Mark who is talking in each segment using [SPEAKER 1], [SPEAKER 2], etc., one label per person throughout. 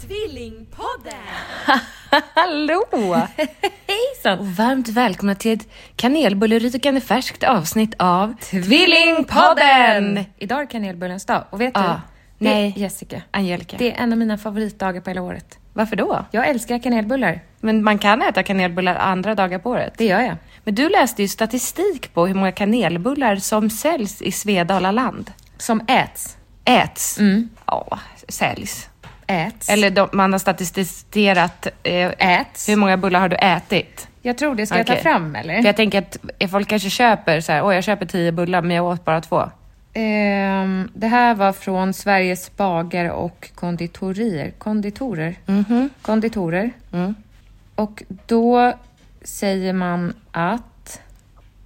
[SPEAKER 1] Tvillingpodden!
[SPEAKER 2] Hallå!
[SPEAKER 1] Hejsan!
[SPEAKER 2] Och varmt välkomna till ett kanelbullerykande färskt avsnitt av Tvillingpodden!
[SPEAKER 1] Idag är kanelbullens dag och vet
[SPEAKER 2] Ja.
[SPEAKER 1] du? Det-
[SPEAKER 2] Ah, Nej.
[SPEAKER 1] Jessica.
[SPEAKER 2] Angelica,
[SPEAKER 1] Det är en av mina favoritdagar på hela året.
[SPEAKER 2] varför då?
[SPEAKER 1] Jag älskar kanelbullar.
[SPEAKER 2] Men man kan äta kanelbullar andra dagar på året.
[SPEAKER 1] Det gör jag.
[SPEAKER 2] Men du läste ju statistik på hur många kanelbullar som säljs i Svedala land.
[SPEAKER 1] Som äts.
[SPEAKER 2] Äts.
[SPEAKER 1] Mm.
[SPEAKER 2] Ja, säljs.
[SPEAKER 1] Äts.
[SPEAKER 2] Eller de, man har statistiserat eh,
[SPEAKER 1] Äts.
[SPEAKER 2] hur många bullar har du ätit?
[SPEAKER 1] Jag tror det. Ska jag
[SPEAKER 2] Okej.
[SPEAKER 1] ta fram eller?
[SPEAKER 2] För jag tänker att folk kanske köper så här, åh jag köper tio bullar men jag åt bara två.
[SPEAKER 1] Ehm, det här var från Sveriges bagare och konditorier. Konditorer. Konditorer. Och då säger man att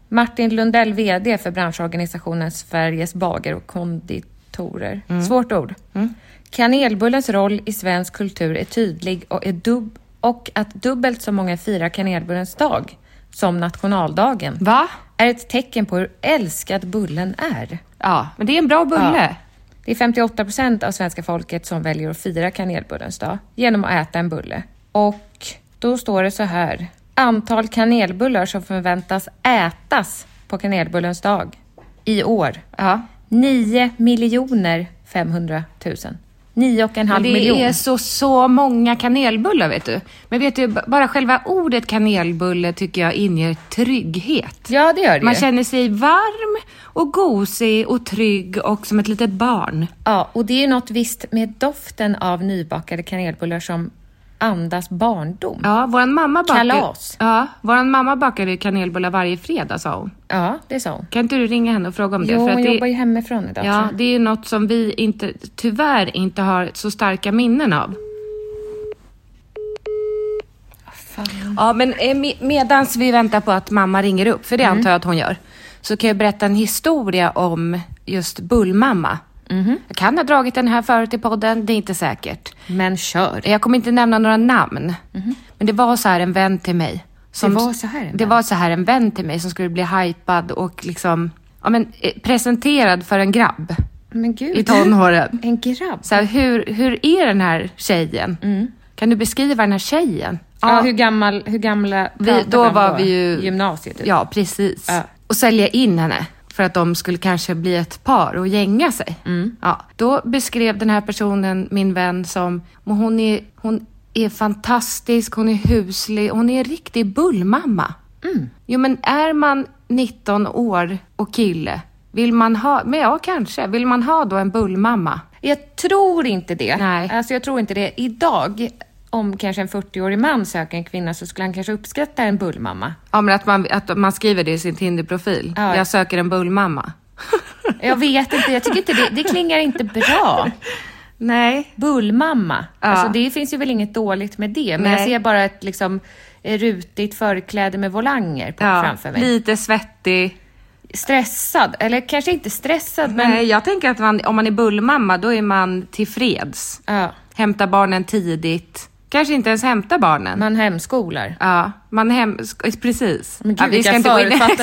[SPEAKER 1] Martin Lundell, VD för branschorganisationen Sveriges bagare och konditorer. Svårt ord. Kanelbullens roll i svensk kultur är tydlig och, är dub- och att dubbelt så många firar kanelbullens dag som nationaldagen
[SPEAKER 2] Va?
[SPEAKER 1] är ett tecken på hur älskad bullen är.
[SPEAKER 2] Ja, men det är en bra bulle.
[SPEAKER 1] Det är 58 procent av svenska folket som väljer att fira kanelbullens dag genom att äta en bulle. Och då står det så här. Antal kanelbullar som förväntas ätas på kanelbullens dag i år.
[SPEAKER 2] Ja.
[SPEAKER 1] 9 miljoner 500 000. 9 och en halv
[SPEAKER 2] det
[SPEAKER 1] miljon.
[SPEAKER 2] är så, så många kanelbullar vet du. Men vet du, b- bara själva ordet kanelbulle tycker jag inger trygghet.
[SPEAKER 1] Ja, det gör det
[SPEAKER 2] Man
[SPEAKER 1] ju.
[SPEAKER 2] känner sig varm och gosig och trygg och som ett litet barn.
[SPEAKER 1] Ja, och det är ju något visst med doften av nybakade kanelbullar som andas barndom.
[SPEAKER 2] Ja, våran mamma bakar...
[SPEAKER 1] Kalas.
[SPEAKER 2] Ja, våran mamma bakar ju kanelbullar varje fredag sa hon.
[SPEAKER 1] Ja, det sa hon.
[SPEAKER 2] Kan inte du ringa henne och fråga om det?
[SPEAKER 1] Jo, hon
[SPEAKER 2] det...
[SPEAKER 1] jobbar ju hemifrån idag. tror
[SPEAKER 2] Ja,
[SPEAKER 1] jag.
[SPEAKER 2] det är ju något som vi inte, tyvärr inte har så starka minnen av. Ja, men eh, me- medans vi väntar på att mamma ringer upp, för det
[SPEAKER 1] Mm.
[SPEAKER 2] antar jag att hon gör, så kan jag berätta en historia om just bullmamma.
[SPEAKER 1] Mm-hmm.
[SPEAKER 2] Jag kan ha dragit den här förut i podden, det är inte säkert.
[SPEAKER 1] Men kör.
[SPEAKER 2] Jag kommer inte nämna några namn, men det var så här en vän till mig.
[SPEAKER 1] Mm-hmm. Det var så här en
[SPEAKER 2] Det
[SPEAKER 1] vän?
[SPEAKER 2] var så här en vän till mig som skulle bli hypad och liksom, ja men eh, presenterad för en grabb
[SPEAKER 1] Men gud.
[SPEAKER 2] i tonåren.
[SPEAKER 1] En grabb?
[SPEAKER 2] Så här, hur, hur är den här tjejen? Kan du beskriva den här tjejen?
[SPEAKER 1] Mm. ja, hur, gammal, hur gamla
[SPEAKER 2] vi,
[SPEAKER 1] pratade
[SPEAKER 2] då
[SPEAKER 1] de
[SPEAKER 2] var vi ju...
[SPEAKER 1] Gymnasiet? typ?
[SPEAKER 2] Ja, precis.
[SPEAKER 1] Ja.
[SPEAKER 2] Och sälja in henne för att de skulle kanske bli ett par och gänga sig.
[SPEAKER 1] Mm.
[SPEAKER 2] Ja, då beskrev den här personen, min vän, som "Men hon är, hon är fantastisk, hon är huslig, hon är en riktig bullmamma.
[SPEAKER 1] Mm.
[SPEAKER 2] Jo, men är man 19 år och kille, vill man ha, men ja kanske, vill man ha då en bullmamma?
[SPEAKER 1] Jag tror inte det.
[SPEAKER 2] Nej.
[SPEAKER 1] Alltså jag tror inte det. Idag, om kanske en 40-årig man söker en kvinna så skulle han kanske uppskatta en bullmamma.
[SPEAKER 2] Ja, men att man, att man skriver det i sin Tinder-profil.
[SPEAKER 1] Ja.
[SPEAKER 2] Jag söker en bullmamma.
[SPEAKER 1] Jag vet inte, jag tycker inte det. Det klingar inte bra.
[SPEAKER 2] Nej.
[SPEAKER 1] Bullmamma.
[SPEAKER 2] Ja.
[SPEAKER 1] Alltså det finns ju väl inget dåligt med det. Men jag
[SPEAKER 2] Nej.
[SPEAKER 1] ser bara ett liksom rutigt förkläde med volanger på,
[SPEAKER 2] Ja,
[SPEAKER 1] framför mig.
[SPEAKER 2] lite svettig.
[SPEAKER 1] Stressad, eller kanske inte stressad men...
[SPEAKER 2] Nej, jag tänker att man, om man är bullmamma, då är man tillfreds.
[SPEAKER 1] Ja.
[SPEAKER 2] Hämtar barnen tidigt. Kanske inte ens hämtar barnen.
[SPEAKER 1] Man hemskolar.
[SPEAKER 2] Ja, man hem... sk- eh, Precis.
[SPEAKER 1] Men gud,
[SPEAKER 2] ja,
[SPEAKER 1] vilka förutfattade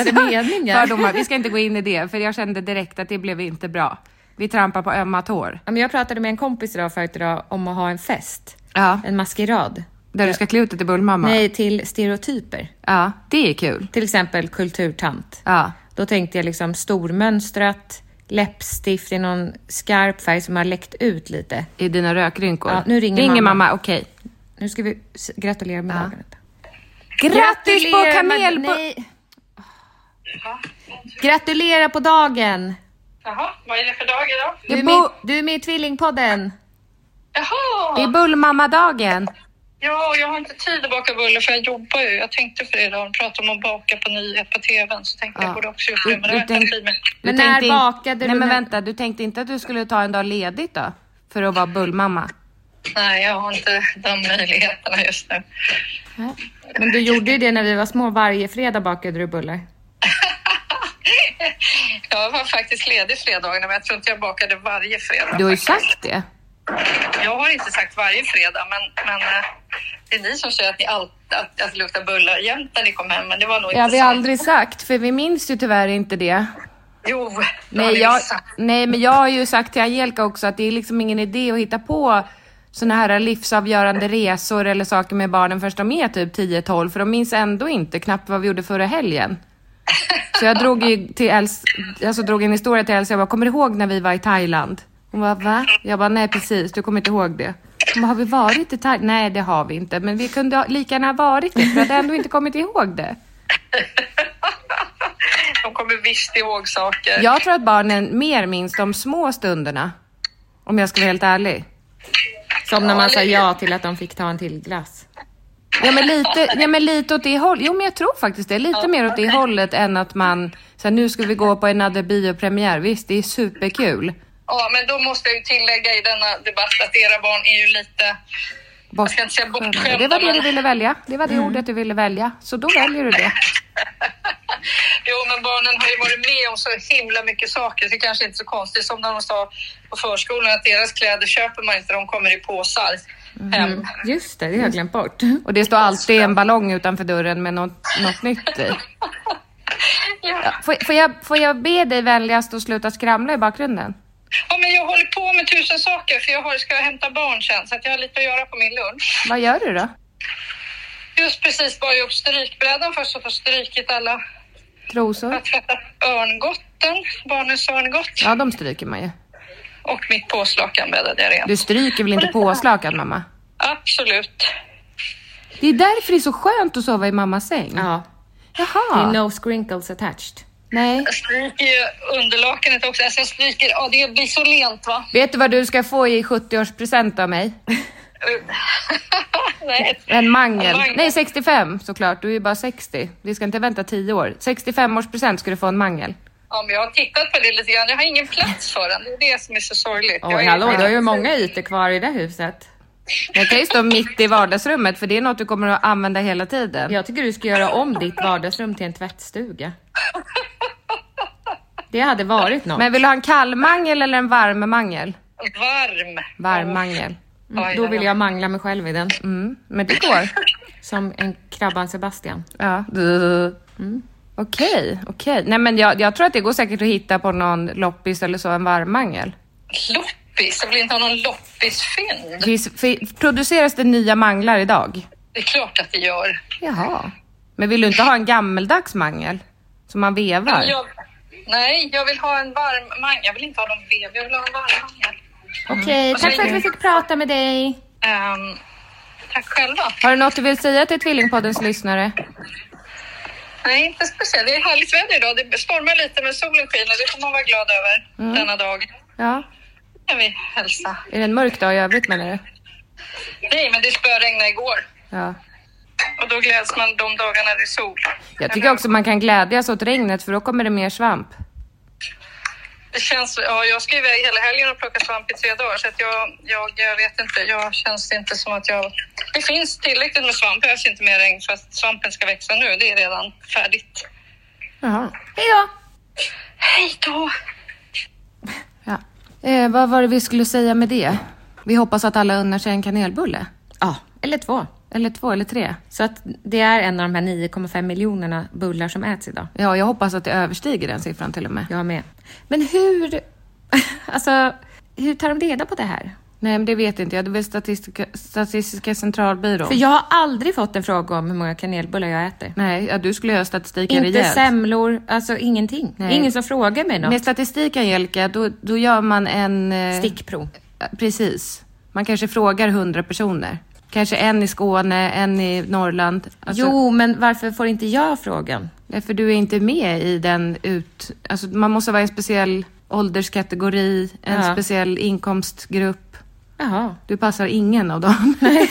[SPEAKER 2] Exakt.
[SPEAKER 1] meningar.
[SPEAKER 2] Fördomar. Vi ska inte gå in i det, för jag kände direkt att det blev inte bra. Vi trampar på ömma tår.
[SPEAKER 1] Ja, men Jag pratade med en kompis idag förut idag om att ha en fest.
[SPEAKER 2] Ja.
[SPEAKER 1] En maskerad.
[SPEAKER 2] Där du ska klä ut dig till bullmamma?
[SPEAKER 3] Nej, till stereotyper.
[SPEAKER 2] Ja, det är kul.
[SPEAKER 3] Till exempel kulturtant.
[SPEAKER 2] Ja.
[SPEAKER 3] Då tänkte jag liksom stormönstrat, läppstift i någon skarp färg som har läckt ut lite.
[SPEAKER 2] I dina rökrynkor?
[SPEAKER 3] Ja, nu ringer
[SPEAKER 2] ringer
[SPEAKER 3] mamma.
[SPEAKER 2] mamma. Okej.
[SPEAKER 3] Nu ska vi s- gratulera med dagen.
[SPEAKER 2] Grattis på
[SPEAKER 3] Gratulerar med-
[SPEAKER 2] kamel... På...
[SPEAKER 3] Nej. Gratulera på dagen!
[SPEAKER 4] Jaha, vad är det för dag idag?
[SPEAKER 3] Du är,
[SPEAKER 2] Det
[SPEAKER 3] med,
[SPEAKER 2] bo-
[SPEAKER 3] du är med i Tvillingpodden.
[SPEAKER 4] Jaha!
[SPEAKER 2] Det är bullmammadagen.
[SPEAKER 4] Ja, jag har inte tid att baka bullar för jag jobbar ju. Jag tänkte för det idag, de pratade om att baka på nyhet på tvn, så tänkte jag borde också gjort det, men det har jag
[SPEAKER 2] Utan-
[SPEAKER 4] inte tid med.
[SPEAKER 2] Du
[SPEAKER 3] Men när
[SPEAKER 2] tänkte in-
[SPEAKER 3] bakade du
[SPEAKER 2] Nej men
[SPEAKER 3] den-
[SPEAKER 2] vänta, du tänkte inte att du skulle ta en dag ledigt då? För att vara bullmamma?
[SPEAKER 4] Nej, jag har inte de möjligheterna just nu.
[SPEAKER 3] Men du gjorde ju det när vi var små. Varje fredag bakade du bullar.
[SPEAKER 4] Jag var faktiskt ledig fredagarna, men jag tror inte jag bakade varje fredag.
[SPEAKER 2] Du har ju sagt det.
[SPEAKER 4] Jag har inte sagt varje fredag, men, men eh, det är ni som säger att ni alltid att, att det luktar bullar jämt när ni kom hem, men det var nog
[SPEAKER 2] Det har
[SPEAKER 4] inte
[SPEAKER 2] vi
[SPEAKER 4] sant.
[SPEAKER 2] aldrig sagt, för vi minns ju tyvärr inte det.
[SPEAKER 4] Jo, det har
[SPEAKER 2] Nej,
[SPEAKER 4] ni
[SPEAKER 2] jag,
[SPEAKER 4] sagt.
[SPEAKER 2] nej, men jag har ju sagt till Angelica också att det är liksom ingen idé att hitta på såna här livsavgörande resor eller saker med barnen först de är typ 10-12, för de minns ändå inte knappt vad vi gjorde förra helgen. Så jag drog, ju till Els, alltså drog en historia till Elsa, jag bara, kommer du ihåg när vi var i Thailand? Hon bara, va? Jag bara, nej precis, du kommer inte ihåg det. Hon bara, har vi varit i Thailand? Nej, det har vi inte, men vi kunde ha- lika gärna ha varit det, för jag hade ändå inte kommit ihåg det.
[SPEAKER 4] De kommer visst ihåg saker.
[SPEAKER 2] Jag tror att barnen mer minns de små stunderna. Om jag ska vara helt ärlig.
[SPEAKER 3] Som när man sa ja till att de fick ta en till glass.
[SPEAKER 2] Ja men lite, ja, men lite åt det hållet. Jo men jag tror faktiskt det. Lite mer åt det hållet än att man, så här, nu ska vi gå på en another biopremiär. Visst, det är superkul.
[SPEAKER 4] Ja, men då måste jag ju tillägga i denna debatt att era barn är ju lite... Jag ska inte säga bortskämda,
[SPEAKER 2] det var det du
[SPEAKER 4] men-
[SPEAKER 2] ville välja. Det var det ordet du ville välja. Så då väljer du det.
[SPEAKER 4] Jo, men barnen har ju varit med om så himla mycket saker. Det är kanske inte så konstigt som när de sa på förskolan att deras kläder köper man inte, de kommer i påsar
[SPEAKER 2] Mhm.
[SPEAKER 4] hem.
[SPEAKER 3] Just det, det har jag glömt bort.
[SPEAKER 2] Och det står alltid en ballong utanför dörren med något, något nytt i.
[SPEAKER 4] Ja.
[SPEAKER 2] Får, får, jag, får jag be dig vänligast att sluta skramla i bakgrunden?
[SPEAKER 4] ja, men jag håller på med tusen saker för jag har, ska hämta barn sen så att jag har lite att göra på min lunch.
[SPEAKER 2] Vad gör du då?
[SPEAKER 4] Just precis var jag upp strykbrädan först och få strykit alla. Jag
[SPEAKER 2] Trosor?
[SPEAKER 4] har tvättat örngotten, barnens örngott
[SPEAKER 2] Ja, de stryker man ju.
[SPEAKER 4] och mitt påslakan bäddade jag
[SPEAKER 2] Du
[SPEAKER 4] rent.
[SPEAKER 2] stryker väl inte påslakan mamma?
[SPEAKER 4] Absolut.
[SPEAKER 2] Det är därför det är så skönt att sova i mammas säng.
[SPEAKER 3] Ja. Det
[SPEAKER 2] Jaha.
[SPEAKER 3] är no scrinkles attached.
[SPEAKER 2] Nej.
[SPEAKER 4] Jag stryker ju underlakanet också. Alltså jag stryker, ja det blir så lent va?
[SPEAKER 2] Vet du vad du ska få i 70-årspresent av mig?
[SPEAKER 4] Nej.
[SPEAKER 2] En mangel.
[SPEAKER 4] En mangel.
[SPEAKER 2] Nej, 65 såklart. Du är ju bara 60. Vi ska inte vänta 10 år. 65-årspresent ska du få en mangel.
[SPEAKER 4] Ja, men jag har tittat på det lite grann. Jag har ingen plats för den. Det är det som är så sorgligt. Jag
[SPEAKER 3] Oj,
[SPEAKER 4] är-
[SPEAKER 3] hallå, du har ju många ytor kvar i det här huset.
[SPEAKER 2] Den kan ju stå mitt i vardagsrummet för det är något du kommer att använda hela tiden.
[SPEAKER 3] Jag tycker du ska göra om ditt vardagsrum till en tvättstuga. Det hade varit något.
[SPEAKER 2] Men vill du ha en kall mangel eller en varm mangel?
[SPEAKER 4] Varm.
[SPEAKER 2] Varm mangel.
[SPEAKER 4] Oj,
[SPEAKER 3] Då
[SPEAKER 4] oj,
[SPEAKER 3] vill
[SPEAKER 4] oj.
[SPEAKER 3] jag mangla mig själv i den.
[SPEAKER 2] Mm, men det går.
[SPEAKER 3] Som en krabban Sebastian.
[SPEAKER 2] Ja. Mm. Okej, okej. Nej men jag, jag tror att det går säkert att hitta på någon loppis eller så, en varm mangel.
[SPEAKER 4] Loppis. Jag vill inte ha någon loppisfynd.
[SPEAKER 2] Finns, fi- produceras det nya manglar idag?
[SPEAKER 4] Det är klart att det gör.
[SPEAKER 2] Jaha. Men vill du inte ha en gammeldags mangel? Som man vevar?
[SPEAKER 4] Jag, nej, jag vill ha en varm mangel. Jag vill inte ha någon vev. Jag vill ha en varm mangel.
[SPEAKER 3] Okej, tack för att vi fick prata med dig.
[SPEAKER 4] Ehm, tack själva.
[SPEAKER 2] Har du något du vill säga till Tvillingpoddens lyssnare?
[SPEAKER 4] Nej, inte speciellt. Det är härligt väder idag. Det stormar lite, men solen skiner. Det får man vara glad över
[SPEAKER 2] Mm.
[SPEAKER 4] denna dag.
[SPEAKER 2] Ja.
[SPEAKER 4] kan vi hälsa.
[SPEAKER 2] Är det en mörk dag i övrigt menar du?
[SPEAKER 4] Nej, men det spöregnade igår
[SPEAKER 2] Ja.
[SPEAKER 4] och då gläds man de dagarna det är sol.
[SPEAKER 2] Jag tycker också man kan glädjas åt regnet för då kommer det mer svamp.
[SPEAKER 4] Det känns, ja, jag ska iväg hela helgen och plocka svamp i tre dagar så att jag, jag, jag vet inte. Jag känns inte som att jag... Det finns tillräckligt med svamp. Det behövs inte mer regn för att svampen ska växa nu. Det är redan färdigt.
[SPEAKER 2] Jaha.
[SPEAKER 3] Hej då!
[SPEAKER 4] Hej då!
[SPEAKER 2] Ja. Eh, vad var det vi skulle säga med det? Vi hoppas att alla unnar sig en kanelbulle.
[SPEAKER 3] Ja, eller två.
[SPEAKER 2] Eller två eller tre.
[SPEAKER 3] Så att det är en av de här 9,5 miljonerna bullar som äts idag.
[SPEAKER 2] Ja, jag hoppas att det överstiger den siffran till och med.
[SPEAKER 3] Jag med. Men hur... Alltså, hur tar de reda på det här?
[SPEAKER 2] Nej, men det vet inte jag. Det är väl Statistiska, Statistiska centralbyrån.
[SPEAKER 3] För jag har aldrig fått en fråga om hur många kanelbullar jag äter.
[SPEAKER 2] Nej, ja, du skulle göra statistiken
[SPEAKER 3] Inte
[SPEAKER 2] rejält.
[SPEAKER 3] semlor, alltså ingenting.
[SPEAKER 2] Nej.
[SPEAKER 3] Ingen som frågar mig något.
[SPEAKER 2] Med statistik Angelica, då, då gör man en... eh,
[SPEAKER 3] Stickprov.
[SPEAKER 2] Precis. Man kanske frågar hundra personer. Kanske en i Skåne, en i Norrland. Alltså,
[SPEAKER 3] jo, Oh, men varför får inte jag frågan?
[SPEAKER 2] nej, För du är inte med i den ut... Alltså, man måste vara en speciell ålderskategori, en
[SPEAKER 3] Ja.
[SPEAKER 2] speciell inkomstgrupp.
[SPEAKER 3] Jaha.
[SPEAKER 2] Du passar ingen av dem. Nej.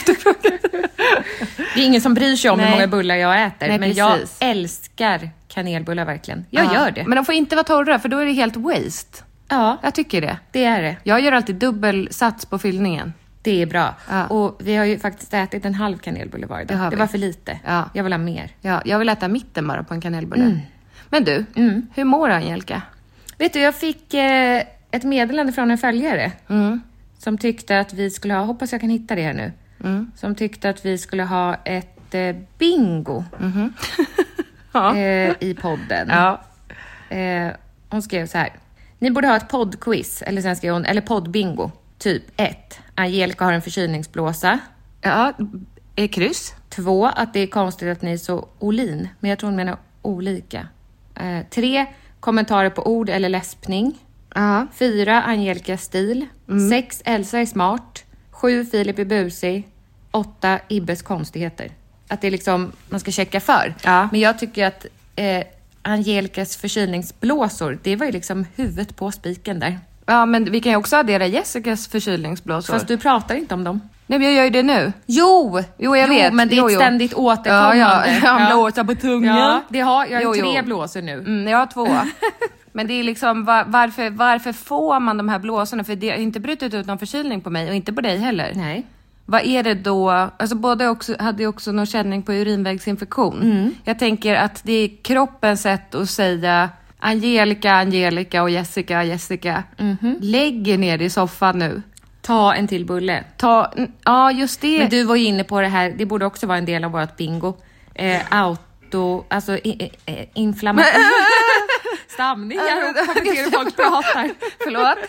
[SPEAKER 3] Det är ingen som bryr sig om
[SPEAKER 2] Nej.
[SPEAKER 3] hur många bullar jag äter,
[SPEAKER 2] Nej,
[SPEAKER 3] men
[SPEAKER 2] precis.
[SPEAKER 3] jag älskar kanelbullar verkligen. Jag gör det.
[SPEAKER 2] Men de får inte vara torra, för då är det helt waste.
[SPEAKER 3] ja,
[SPEAKER 2] Jag tycker det.
[SPEAKER 3] det är det.
[SPEAKER 2] Jag gör alltid dubbel sats på fyllningen.
[SPEAKER 3] Det är bra.
[SPEAKER 2] Ja.
[SPEAKER 3] Och vi har ju faktiskt ätit en halv kanelbulle varje
[SPEAKER 2] Det har
[SPEAKER 3] dag. Det
[SPEAKER 2] vi.
[SPEAKER 3] var för lite.
[SPEAKER 2] Ja.
[SPEAKER 3] Jag vill ha mer.
[SPEAKER 2] Ja, jag vill äta mitten bara på en kanelbulle.
[SPEAKER 3] Mm.
[SPEAKER 2] Men du, hur mår Angelica?
[SPEAKER 3] Vet du, jag fick eh, ett meddelande från en följare som tyckte att vi skulle ha, hoppas jag kan hitta det här nu, som tyckte att vi skulle ha ett eh, bingo
[SPEAKER 2] Ja.
[SPEAKER 3] eh, i podden. Eh, hon skrev så här. Ni borde ha ett poddquiz, eller sen skrev hon, eller poddbingo. Typ 1. Angelica har en förkylningsblåsa.
[SPEAKER 2] Ja, är kryss.
[SPEAKER 3] 2. Att det är konstigt att ni är så olin. Men jag tror hon menar olika. 3. kommentarer på ord eller läspning.
[SPEAKER 2] Ja. Mm.
[SPEAKER 3] 4. Angelicas stil. 6. Elsa är smart. 7. Filip är busig. 8. Ibbes konstigheter. Att det är liksom, man ska checka för.
[SPEAKER 2] Ja.
[SPEAKER 3] Men jag tycker att eh, Angelicas förkylningsblåsor, det var ju liksom huvudet på spiken där.
[SPEAKER 2] Ja, men vi kan ju också addera Jessicas förkylningsblåsor.
[SPEAKER 3] Fast du pratar inte om dem.
[SPEAKER 2] Nej, men jag gör ju det nu.
[SPEAKER 3] Jo!
[SPEAKER 2] Jo, jag
[SPEAKER 3] jo,
[SPEAKER 2] vet.
[SPEAKER 3] men det är
[SPEAKER 2] Jo,
[SPEAKER 3] ett
[SPEAKER 2] jo.
[SPEAKER 3] ständigt återkommande.
[SPEAKER 2] Ja, ja. Han blåser på tungan.
[SPEAKER 3] Ja, det har, jag har
[SPEAKER 2] Jo,
[SPEAKER 3] tre
[SPEAKER 2] jo.
[SPEAKER 3] blåsor nu.
[SPEAKER 2] Mm, jag har två. Men det är liksom, var, varför, varför får man de här blåsorna? För det har inte brutit ut någon förkylning på mig och inte på dig heller.
[SPEAKER 3] Nej.
[SPEAKER 2] Vad är det då? Alltså båda också, hade ju också någon känning på urinvägsinfektion.
[SPEAKER 3] Mm.
[SPEAKER 2] Jag tänker att det är kroppens sätt att säga Angelica, Angelica och Jessica, Jessica.
[SPEAKER 3] Mhm.
[SPEAKER 2] Lägg er ner i soffan nu.
[SPEAKER 3] Ta en till bulle.
[SPEAKER 2] Ta, n- ja just det.
[SPEAKER 3] Men du var ju inne på det här, det borde också vara en del av vårt bingo. Eh, auto, alltså i, i, eh, inflammation. Stamningar och bakterier folk pratar.
[SPEAKER 2] Förlåt.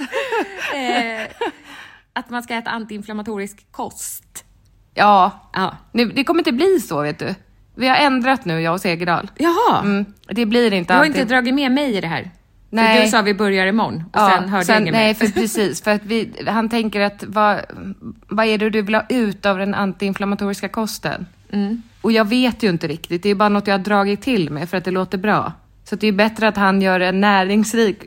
[SPEAKER 3] Eh, att man ska äta antiinflammatorisk kost.
[SPEAKER 2] Ja,
[SPEAKER 3] Ja.
[SPEAKER 2] nu, det kommer inte bli så vet du. Vi har ändrat nu, jag och Segerdal.
[SPEAKER 3] Jaha.
[SPEAKER 2] Mm, det blir inte
[SPEAKER 3] Du har
[SPEAKER 2] alltid-
[SPEAKER 3] inte dragit med mig i det här. Nej.
[SPEAKER 2] Nej.
[SPEAKER 3] För du sa vi börjar imorgon och sen hörde jag inget
[SPEAKER 2] Nej,
[SPEAKER 3] mer.
[SPEAKER 2] för precis. För att vi, han tänker att vad, vad är det du vill ha ut av den antiinflammatoriska kosten?
[SPEAKER 3] Mm.
[SPEAKER 2] Och jag vet ju inte riktigt. Det är bara något jag har dragit till med för att det låter bra. Så att det är bättre att han gör en näringsrik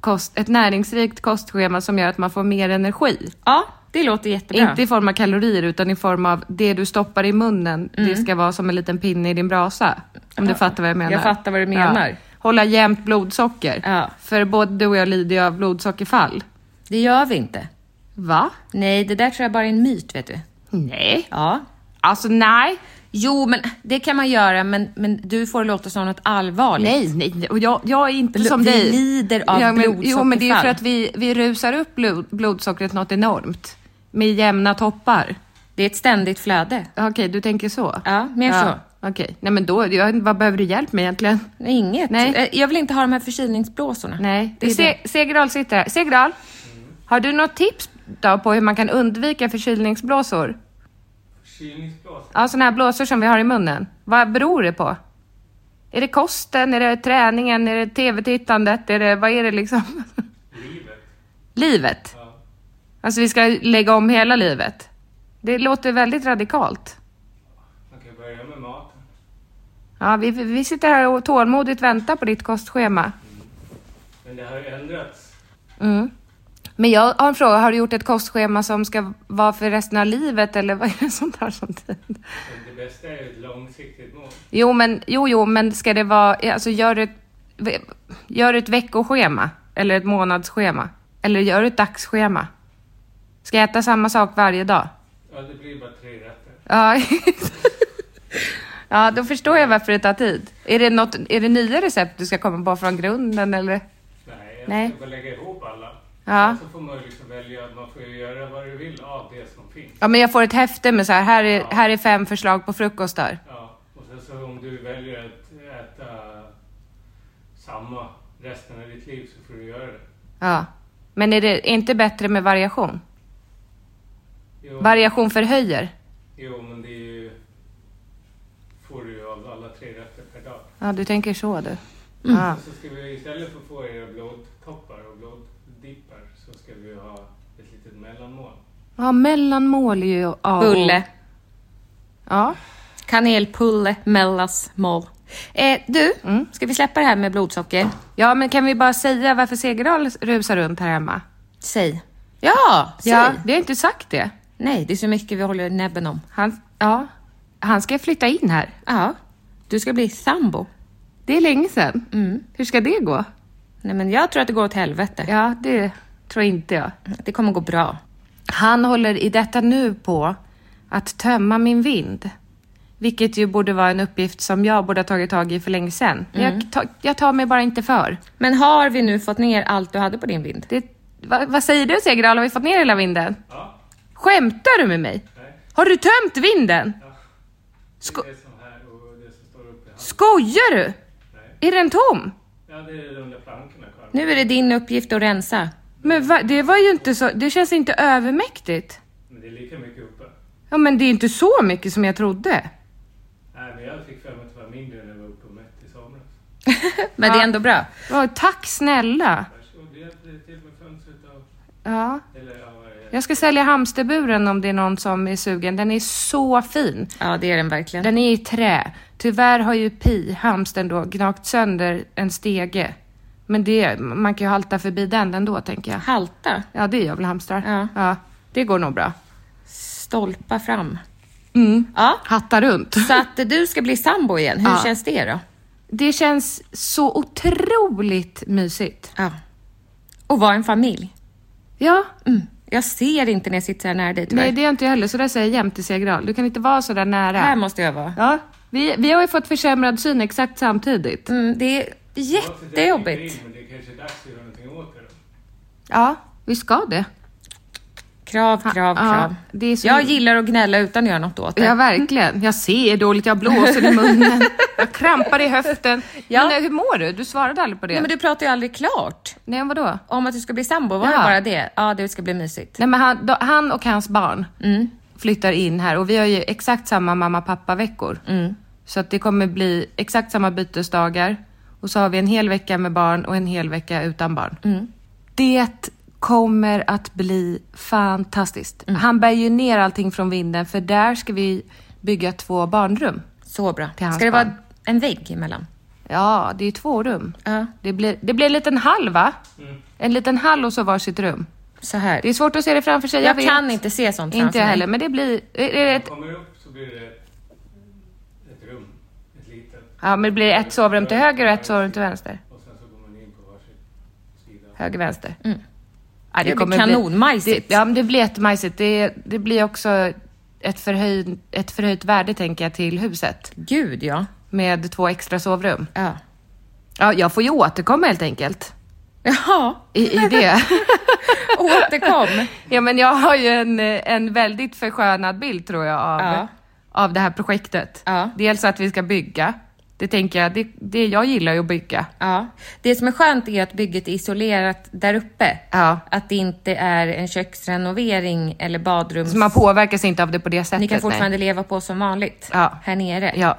[SPEAKER 2] kost, ett näringsrikt kostschema som gör att man får mer energi.
[SPEAKER 3] Ja, det låter jättebra.
[SPEAKER 2] Inte i form av kalorier utan i form av det du stoppar i munnen. Det ska vara som en liten pinne i din brasa. Om du fattar vad jag menar.
[SPEAKER 3] Mm. jag fattar vad du menar.
[SPEAKER 2] Ja. Hålla jämnt blodsocker.
[SPEAKER 3] Ja.
[SPEAKER 2] För både du och jag lider ju av blodsockerfall.
[SPEAKER 3] Det gör vi inte.
[SPEAKER 2] Va?
[SPEAKER 3] Nej, det där tror jag bara är en myt, vet du.
[SPEAKER 2] Nej.
[SPEAKER 3] Ja.
[SPEAKER 2] Alltså nej.
[SPEAKER 3] Jo, men det kan man göra, men, men du får låta som något allvarligt.
[SPEAKER 2] Nej, nej. Och jag, jag är inte
[SPEAKER 3] Bl-
[SPEAKER 2] som
[SPEAKER 3] Mm. vi
[SPEAKER 2] dig.
[SPEAKER 3] lider av
[SPEAKER 2] men, Jo, men det är för
[SPEAKER 3] blodsockerfall.
[SPEAKER 2] att vi, vi rusar upp blod, blodsockret något enormt. Med jämna toppar.
[SPEAKER 3] Det är ett ständigt flöde.
[SPEAKER 2] Okej, du tänker så?
[SPEAKER 3] Ja, mer så.
[SPEAKER 2] Okej, nej men då, jag, vad behöver du hjälp med egentligen?
[SPEAKER 3] Inget.
[SPEAKER 2] Nej.
[SPEAKER 3] Eh, Jag vill inte ha de här förkylningsblåsorna.
[SPEAKER 2] Nej,
[SPEAKER 3] Det är
[SPEAKER 2] Se- Segerdal sitter här. Segerdal, har du något tips då på hur man kan undvika förkylningsblåsor?
[SPEAKER 5] Förkylningsblåsa.
[SPEAKER 2] Ja, sådana här blåsor som vi har i munnen. Vad beror det på? Är det kosten? Är det träningen? Är det tv-tittandet? Är det, vad är det liksom?
[SPEAKER 5] Livet.
[SPEAKER 2] livet? Alltså vi ska lägga om hela livet. Det låter väldigt radikalt.
[SPEAKER 5] Man kan börja med maten.
[SPEAKER 2] Ja, vi, vi sitter här och tålmodigt väntar på ditt kostschema.
[SPEAKER 5] Men det har ju ändrats.
[SPEAKER 2] Men jag har en fråga, har du gjort ett kostschema som ska vara för resten av livet eller vad är det som tar sån tid?
[SPEAKER 5] Men det bästa är ju ett långsiktigt mål.
[SPEAKER 2] Jo, men, jo, jo, men ska det vara, alltså gör ett, gör ett veckoschema eller ett månadsschema eller gör ett dagsschema. Ska jag äta samma sak varje dag?
[SPEAKER 5] Ja, det blir bara tre rätter.
[SPEAKER 2] Ja, ja då förstår jag varför det tar tid. Är det, något, är det nya recept du ska komma på från grunden eller?
[SPEAKER 5] Nej, jag
[SPEAKER 2] Nej.
[SPEAKER 5] ska bara lägga ihop alla.
[SPEAKER 2] Ja.
[SPEAKER 5] Och så får man ju liksom välja, man får ju göra vad du vill av det som finns.
[SPEAKER 2] Ja, men jag får ett häfte med så här, här är, här är fem förslag på frukostar.
[SPEAKER 5] Ja, och sen så om du väljer att äta samma resten av ditt liv så får du göra det.
[SPEAKER 2] Ja. Men är det inte bättre med variation?
[SPEAKER 5] Jo,
[SPEAKER 2] Variation förhöjer.
[SPEAKER 5] jo men det är ju, får du ju av alla tre rätter per dag.
[SPEAKER 2] Ja, du tänker så du. Ja.
[SPEAKER 5] Så ska vi istället för att få era blodtoppar och bloddippar så ska vi ha ett litet mellanmål.
[SPEAKER 2] ja, mellanmål är ju A och-
[SPEAKER 1] Bulle.
[SPEAKER 2] Ja.
[SPEAKER 1] Kanelpulle, mellas, moll. Eh, du, ska vi släppa det här med blodsocker?
[SPEAKER 2] Mm. ja, men kan vi bara säga varför Segerdal rusar runt här hemma?
[SPEAKER 1] Säg. Ja, säg.
[SPEAKER 2] Ja, vi har inte sagt det.
[SPEAKER 1] Nej, det är så mycket vi håller näbben om.
[SPEAKER 2] Han, ja, han ska flytta in här.
[SPEAKER 1] Ja, du ska bli sambo. Mm.
[SPEAKER 2] Det är länge sedan. Hur ska det gå?
[SPEAKER 1] Nej, men jag tror att det går åt helvete.
[SPEAKER 2] Ja, det tror inte jag.
[SPEAKER 1] Det kommer gå bra.
[SPEAKER 2] Han håller i detta nu på att tömma min vind. Vilket ju borde vara en uppgift som jag borde ha tagit tag i för länge sedan. Men Jag, ta, jag tar mig bara inte för.
[SPEAKER 1] Mm. Men har vi nu fått ner allt du hade på din vind?
[SPEAKER 2] Det, va, vad säger du Segerdal, har vi fått ner hela vinden?
[SPEAKER 5] Ja,
[SPEAKER 2] Skämtar du med mig?
[SPEAKER 5] nej.
[SPEAKER 2] Har du tömt vinden?
[SPEAKER 5] Det är det som här och det som står uppe i handen.
[SPEAKER 2] Skojar du?
[SPEAKER 5] Nej.
[SPEAKER 2] Är den tom?
[SPEAKER 5] Ja, det är de där plankorna kvar.
[SPEAKER 1] Nu är det din uppgift att rensa.
[SPEAKER 2] Men va, det var ju inte så, det känns inte övermäktigt.
[SPEAKER 5] Men det är lika mycket uppe.
[SPEAKER 2] Ja men det är inte så mycket som jag trodde.
[SPEAKER 5] Nej, men jag fick för mig att det var mindre när jag var uppe och mätt i somras.
[SPEAKER 1] Men det är ändå bra.
[SPEAKER 2] Ja, tack snälla.
[SPEAKER 5] Varsågod, du hjälpte till med fönstret och...
[SPEAKER 2] Ja.
[SPEAKER 5] Eller ja, vad är det?
[SPEAKER 2] Jag ska sälja hamsterburen om det är någon som är sugen. Den är så fin.
[SPEAKER 1] Ja, det är den verkligen.
[SPEAKER 2] Den är i trä. Tyvärr har ju Pi, hamstern då, gnagt sönder en stege. Men det, man kan ju halta förbi den ändå tänker jag.
[SPEAKER 1] Halta,
[SPEAKER 2] Ja, det gör väl hamstrar.
[SPEAKER 1] Ja.
[SPEAKER 2] det går nog bra.
[SPEAKER 1] stolpa fram. Ja,
[SPEAKER 2] Hatta runt.
[SPEAKER 1] så att du ska bli sambo igen. Hur
[SPEAKER 2] Ja.
[SPEAKER 1] känns det då?
[SPEAKER 2] Det känns så otroligt mysigt.
[SPEAKER 1] Ja. Och vara en familj.
[SPEAKER 2] Ja,
[SPEAKER 1] Mm. Jag ser inte när jag sitter här nära dig tyvärr.
[SPEAKER 2] nej det är jag inte jag heller. Så där säger jag jämt till Segerdal. Du kan inte vara så där nära.
[SPEAKER 1] Här måste jag vara.
[SPEAKER 2] Ja, vi, vi har ju fått försämrad syn exakt samtidigt.
[SPEAKER 1] Mm, det är jättejobbigt.
[SPEAKER 5] Men det är kanske är dags att göra någonting åt det då.
[SPEAKER 2] Ja, vi ska det.
[SPEAKER 1] Krav, krav,
[SPEAKER 2] Ja,
[SPEAKER 1] krav.
[SPEAKER 2] det är så-
[SPEAKER 1] Jag gillar att gnälla utan att göra något åt det.
[SPEAKER 2] Ja, verkligen. Jag ser dåligt, jag blåser i munnen, jag krampar i höften. Men eh, hur mår du? Du svarade aldrig på det.
[SPEAKER 1] Nej, men du pratar ju aldrig klart
[SPEAKER 2] Nej, vadå?
[SPEAKER 1] om att du ska bli sambo. Var det
[SPEAKER 2] Ja.
[SPEAKER 1] bara det? Ja, det ska bli mysigt.
[SPEAKER 2] Nej, men han, då, han och hans barn
[SPEAKER 1] Mm.
[SPEAKER 2] flyttar in här och vi har ju exakt samma mamma pappa veckor.
[SPEAKER 1] Mm.
[SPEAKER 2] Så att det kommer bli exakt samma bytesdagar och så har vi en hel vecka med barn och en hel vecka utan barn.
[SPEAKER 1] Mm.
[SPEAKER 2] Det kommer att bli fantastiskt.
[SPEAKER 1] Mm.
[SPEAKER 2] Han bär ju ner allting från vinden för där ska vi bygga två barnrum.
[SPEAKER 1] Så bra.
[SPEAKER 2] Till hans
[SPEAKER 1] Ska det
[SPEAKER 2] barn.
[SPEAKER 1] vara en vägg emellan?
[SPEAKER 2] Ja, det är två rum.
[SPEAKER 1] Ja.
[SPEAKER 2] Det, blir, det blir en liten hall va? En liten hall och så varsitt rum.
[SPEAKER 1] Så här.
[SPEAKER 2] Det är svårt att se det framför sig, jag,
[SPEAKER 1] jag
[SPEAKER 2] vet.
[SPEAKER 1] kan inte se sånt framför
[SPEAKER 2] Inte jag
[SPEAKER 1] mig.
[SPEAKER 2] heller, men det blir... Är är det
[SPEAKER 5] När man
[SPEAKER 2] ett,
[SPEAKER 5] kommer upp så blir det ett rum, ett litet.
[SPEAKER 2] ja, men det blir ett sovrum till höger och ett sovrum till vänster.
[SPEAKER 5] Och sen så går man in på varsin sida.
[SPEAKER 2] Höger, vänster. Ja,
[SPEAKER 1] Mm. Det blir
[SPEAKER 2] kommer
[SPEAKER 1] kanonmajsigt.
[SPEAKER 2] Det, ja, men det blir jättemajsigt. Det, det blir också ett, förhöj, ett förhöjt värde, tänker jag, till huset.
[SPEAKER 1] Gud ja.
[SPEAKER 2] Med två extra sovrum.
[SPEAKER 1] Ja.
[SPEAKER 2] Ja, jag får ju återkomma helt enkelt.
[SPEAKER 1] Ja,
[SPEAKER 2] I, i det.
[SPEAKER 1] återkom.
[SPEAKER 2] Ja, men jag har ju en, eh, en väldigt förskönad bild tror jag av,
[SPEAKER 1] Ja.
[SPEAKER 2] av det här projektet.
[SPEAKER 1] Ja.
[SPEAKER 2] Dels att vi ska bygga. Det tänker jag, det, det jag gillar ju att bygga.
[SPEAKER 1] Ja. Det som är skönt är att bygget är isolerat där uppe.
[SPEAKER 2] Ja.
[SPEAKER 1] Att det inte är en köksrenovering eller badrums...
[SPEAKER 2] Så man påverkas inte av det på det sättet.
[SPEAKER 1] Ni kan fortfarande
[SPEAKER 2] nej.
[SPEAKER 1] leva på som vanligt
[SPEAKER 2] Ja.
[SPEAKER 1] här nere.
[SPEAKER 2] Ja.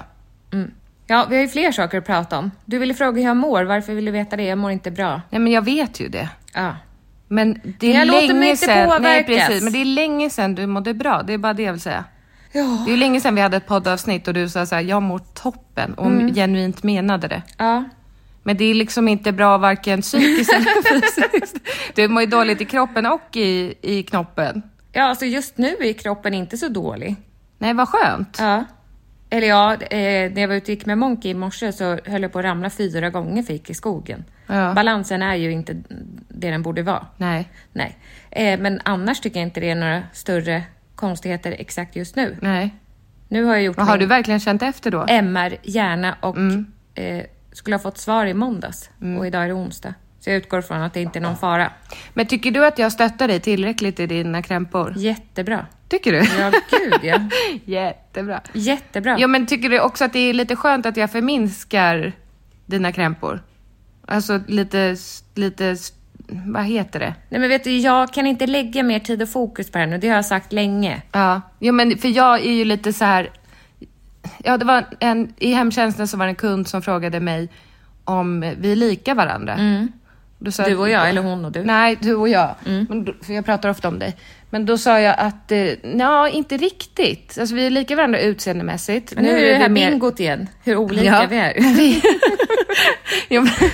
[SPEAKER 1] Mm. ja, vi har ju fler saker att prata om. Du ville fråga hur jag mår. Varför vill du veta det? Jag mår inte bra.
[SPEAKER 2] Nej, men jag vet ju det.
[SPEAKER 1] Ja.
[SPEAKER 2] Men det är
[SPEAKER 1] Jag låter
[SPEAKER 2] länge
[SPEAKER 1] mig inte
[SPEAKER 2] sedan, Nej,
[SPEAKER 1] påverkas.
[SPEAKER 2] precis. Men det är länge sedan du mådde bra. Det är bara det jag vill säga.
[SPEAKER 1] Ja.
[SPEAKER 2] Det är länge sedan vi hade ett poddavsnitt och du sa så här, jag mår toppen och genuint menade det.
[SPEAKER 1] Mm. ja.
[SPEAKER 2] Men det är liksom inte bra varken psykiskt eller fysiskt. Du mår ju dåligt i kroppen och i, i knoppen.
[SPEAKER 1] Ja, alltså just nu är kroppen inte så dålig.
[SPEAKER 2] Nej, vad skönt.
[SPEAKER 1] Ja. Eller ja, eh, när jag var ute och gick med Monkey i morse så höll jag på att ramla fyra gånger för jag gick i skogen.
[SPEAKER 2] Ja.
[SPEAKER 1] Balansen är ju inte det den borde vara.
[SPEAKER 2] Nej.
[SPEAKER 1] Nej. Eh, men annars tycker jag inte det är några större konstigheter exakt just nu.
[SPEAKER 2] Nej.
[SPEAKER 1] Nu har jag gjort
[SPEAKER 2] Vad har
[SPEAKER 1] min
[SPEAKER 2] du Mm. verkligen känt efter då?
[SPEAKER 1] MR, hjärna och eh, skulle ha fått svar i måndags
[SPEAKER 2] Mm.
[SPEAKER 1] och idag är det onsdag. Så jag utgår från att det inte är någon fara.
[SPEAKER 2] Men tycker du att jag stöttar dig tillräckligt i dina krämpor?
[SPEAKER 1] Jättebra.
[SPEAKER 2] Tycker du?
[SPEAKER 1] Ja, gud ja.
[SPEAKER 2] Jättebra.
[SPEAKER 1] Jättebra.
[SPEAKER 2] Ja, men tycker du också att det är lite skönt att jag förminskar dina krämpor? Alltså lite, s- lite s- vad heter det?
[SPEAKER 3] Nej, men vet du, jag kan inte lägga mer tid och fokus på det här nu. Det har jag sagt länge.
[SPEAKER 2] Ja, jo, men för jag är ju lite så här... Ja, det var en, I hemtjänsten så var det en kund som frågade mig om vi är lika varandra. Då sa
[SPEAKER 3] Mm. Du och jag, eller hon och du? Mm.
[SPEAKER 2] Nej, du och jag. Men då, för jag pratar ofta om dig. Men då sa jag att, eh, nja, inte riktigt. Alltså vi är lika varandra utseendemässigt.
[SPEAKER 3] Men nu är det här
[SPEAKER 2] mer-
[SPEAKER 3] bingot igen, hur olika vi är.
[SPEAKER 2] Vi, jo, men,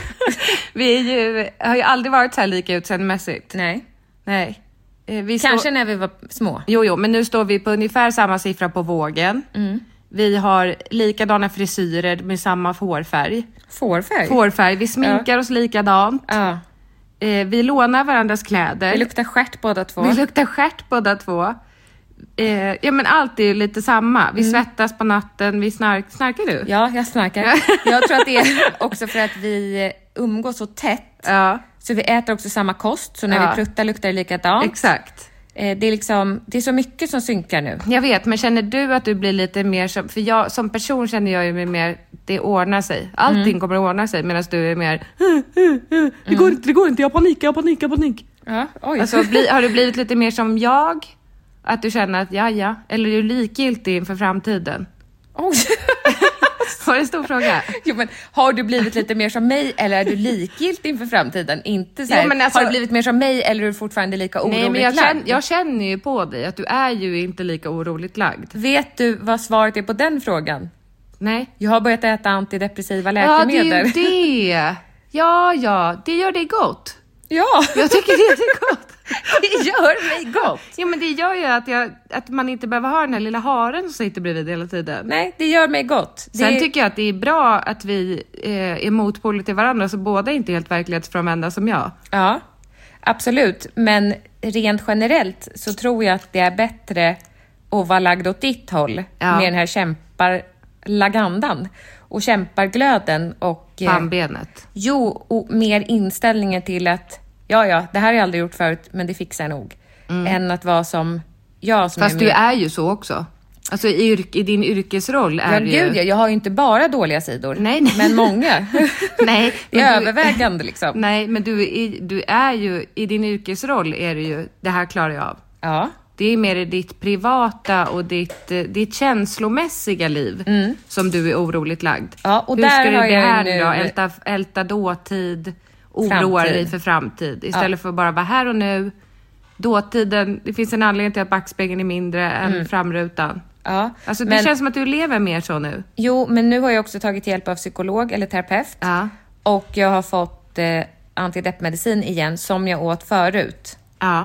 [SPEAKER 2] vi är ju, har ju aldrig varit så här lika utseendemässigt.
[SPEAKER 3] Nej.
[SPEAKER 2] Nej. Eh, Vi står-
[SPEAKER 3] Kanske när vi var små.
[SPEAKER 2] Jo, jo, men nu står vi på ungefär samma siffra på vågen.
[SPEAKER 3] Mm.
[SPEAKER 2] Vi har likadana frisyrer med samma hårfärg.
[SPEAKER 3] Fårfärg?
[SPEAKER 2] Hårfärg, vi sminkar oss likadant.
[SPEAKER 3] Ja.
[SPEAKER 2] Eh, vi lånar varandras kläder.
[SPEAKER 3] Vi luktar stjärt båda två.
[SPEAKER 2] Vi luktar stjärt båda två. Eh, ja, men allt är ju lite samma.
[SPEAKER 3] Mm.
[SPEAKER 2] Vi svettas på natten, vi snark... Snarkar du?
[SPEAKER 3] Ja, jag snarkar. Jag tror att det är också för att vi umgås så tätt.
[SPEAKER 2] Ja,
[SPEAKER 3] Så vi äter också samma kost, så när
[SPEAKER 2] Ja.
[SPEAKER 3] vi pruttar luktar det likadant.
[SPEAKER 2] exakt.
[SPEAKER 3] Eh, det, är liksom, det är så mycket som synkar nu.
[SPEAKER 2] Jag vet, men känner du att du blir lite mer som... För jag, som person känner jag ju mig mer, det ordnar sig. Allting kommer att ordna sig medan du är mer, Mm. det går inte, det går inte, jag har panik, jag har panik, jag har panik.
[SPEAKER 3] Ja, oj.
[SPEAKER 2] Alltså, bli, har du blivit lite mer som jag? Att du känner att ja, ja. Eller är du likgiltig inför framtiden?
[SPEAKER 3] oj.
[SPEAKER 2] Var det en stor fråga?
[SPEAKER 3] Jo, men har du blivit lite mer som mig eller är du likgiltig inför framtiden? Inte så här,
[SPEAKER 2] Jo, men alltså-
[SPEAKER 3] har du blivit mer som mig eller är du fortfarande lika oroligt
[SPEAKER 2] Nej, men jag,
[SPEAKER 3] lagd?
[SPEAKER 2] känner, jag känner ju på dig att du är ju inte lika oroligt lagd.
[SPEAKER 3] Vet du vad svaret är på den frågan?
[SPEAKER 2] Nej.
[SPEAKER 3] Jag har börjat äta antidepressiva
[SPEAKER 2] Ja, det
[SPEAKER 3] läkemedel.
[SPEAKER 2] är ju det. Ja, ja, det gör dig gott.
[SPEAKER 3] Ja,
[SPEAKER 2] Jag tycker det är gott.
[SPEAKER 3] det gör mig gott.
[SPEAKER 2] Jo, men det gör ju att, jag, att man inte behöver ha den här lilla haren som sitter bredvid hela tiden.
[SPEAKER 3] Nej, det gör mig gott. Det
[SPEAKER 2] Sen tycker jag att det är bra att vi eh, är motpoler till varandra, så båda är inte helt verklighetsfrånvända som jag.
[SPEAKER 3] Ja, absolut. Men rent generellt så tror jag att det är bättre att vara lagd åt ditt håll
[SPEAKER 2] Ja.
[SPEAKER 3] med den här kämparlagandan och kämparglöden och... eh,
[SPEAKER 2] Pannbenet.
[SPEAKER 3] Jo, och mer inställningen till att ja, ja, det här har jag aldrig gjort förut, men det fixar jag nog. Än att vara som jag som
[SPEAKER 2] Mm. Fast
[SPEAKER 3] är
[SPEAKER 2] du
[SPEAKER 3] mer-
[SPEAKER 2] är ju så också. Alltså i, yrk, i din yrkesroll är
[SPEAKER 3] Ja,
[SPEAKER 2] du
[SPEAKER 3] gud
[SPEAKER 2] ju...
[SPEAKER 3] ja, jag har ju inte bara dåliga sidor,
[SPEAKER 2] Nej, nej.
[SPEAKER 3] men många.
[SPEAKER 2] Nej, men du-
[SPEAKER 3] det är
[SPEAKER 2] Mm.
[SPEAKER 3] övervägande liksom.
[SPEAKER 2] Nej, men du, är- du är ju... I din yrkesroll är det ju, det här klarar jag av.
[SPEAKER 3] Ja.
[SPEAKER 2] Det är mer i ditt privata och ditt, eh, ditt känslomässiga liv som du är oroligt lagd.
[SPEAKER 3] Mm. Ja, och
[SPEAKER 2] Hur
[SPEAKER 3] där
[SPEAKER 2] ska du
[SPEAKER 3] har
[SPEAKER 2] det
[SPEAKER 3] jag ju
[SPEAKER 2] här
[SPEAKER 3] nu-
[SPEAKER 2] då? Älta, älta dåtid, oroa
[SPEAKER 3] Framtid.
[SPEAKER 2] dig för framtid istället för att bara vara här och nu. Dåtiden, det finns en anledning till att backspegeln är mindre än framrutan.
[SPEAKER 3] Mm. Ja,
[SPEAKER 2] Alltså det
[SPEAKER 3] men-
[SPEAKER 2] känns som att du lever mer så nu.
[SPEAKER 3] Jo, men nu har jag också tagit hjälp av psykolog eller terapeut.
[SPEAKER 2] Ja.
[SPEAKER 3] Och jag har fått eh, antideppmedicin igen, som jag åt förut.
[SPEAKER 2] Ja.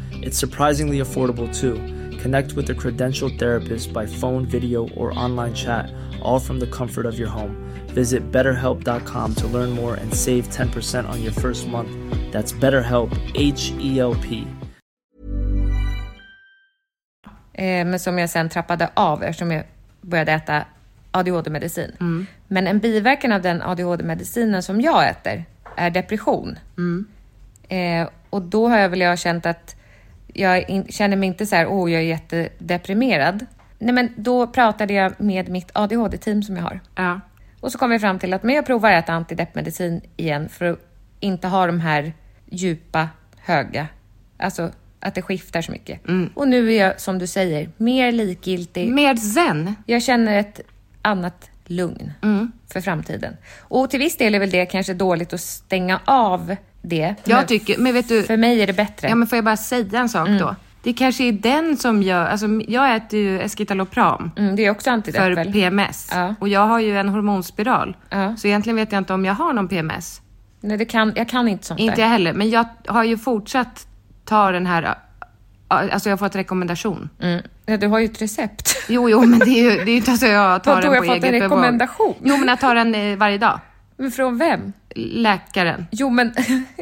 [SPEAKER 6] It's surprisingly affordable too. Connect with a credentialed therapist by phone, video, or online chat, all from the comfort of your home. Visit betterhelp.com to learn more and save 10% on your first month. That's BetterHelp, H E L P.
[SPEAKER 3] Eh, men som jag sen trappade av eftersom jag började äta ADHD-medicin. Men en biverkan av den ADHD-medicinen som jag äter är depression. Eh, och då har jag väl jag känt att jag in, känner mig inte så här, åh, jag är jättedeprimerad. Nej, men då pratade jag med mitt ADHD-team som jag har.
[SPEAKER 2] Ja.
[SPEAKER 3] Och så kom vi fram till att men jag provar att äta antideppmedicin igen för att inte ha de här djupa, höga, alltså att det skiftar så mycket. Och nu är jag, som du säger, mer likgiltig.
[SPEAKER 2] Mer zen.
[SPEAKER 3] Jag känner ett annat lugn för framtiden. Och till viss del är väl det kanske dåligt att stänga av det.
[SPEAKER 2] Jag tycker, men vet du,
[SPEAKER 3] För mig är det bättre.
[SPEAKER 2] Ja, men får jag bara säga en sak
[SPEAKER 3] Mm.
[SPEAKER 2] då? Det kanske är den som gör... Alltså, jag äter ju Escitalopram
[SPEAKER 3] mm, det är också antidepp.
[SPEAKER 2] för
[SPEAKER 3] väl?
[SPEAKER 2] PMS.
[SPEAKER 3] Ja.
[SPEAKER 2] Och jag har ju en hormonspiral.
[SPEAKER 3] Ja.
[SPEAKER 2] Så egentligen vet jag inte om jag har någon PMS.
[SPEAKER 3] Nej, det kan, jag kan inte sånt
[SPEAKER 2] Inte
[SPEAKER 3] där.
[SPEAKER 2] jag heller. Men jag har ju fortsatt ta den här... Alltså jag har fått rekommendation.
[SPEAKER 3] Mm. Ja, du har ju ett recept.
[SPEAKER 2] Jo, jo, men det är ju, det är ju inte så jag tar
[SPEAKER 3] Vadå,
[SPEAKER 2] den på
[SPEAKER 3] jag har fått en
[SPEAKER 2] eget bevåg.
[SPEAKER 3] rekommendation?
[SPEAKER 2] Jo, men jag tar den eh, varje dag.
[SPEAKER 3] Men från vem?
[SPEAKER 2] Läkaren.
[SPEAKER 3] Jo, men...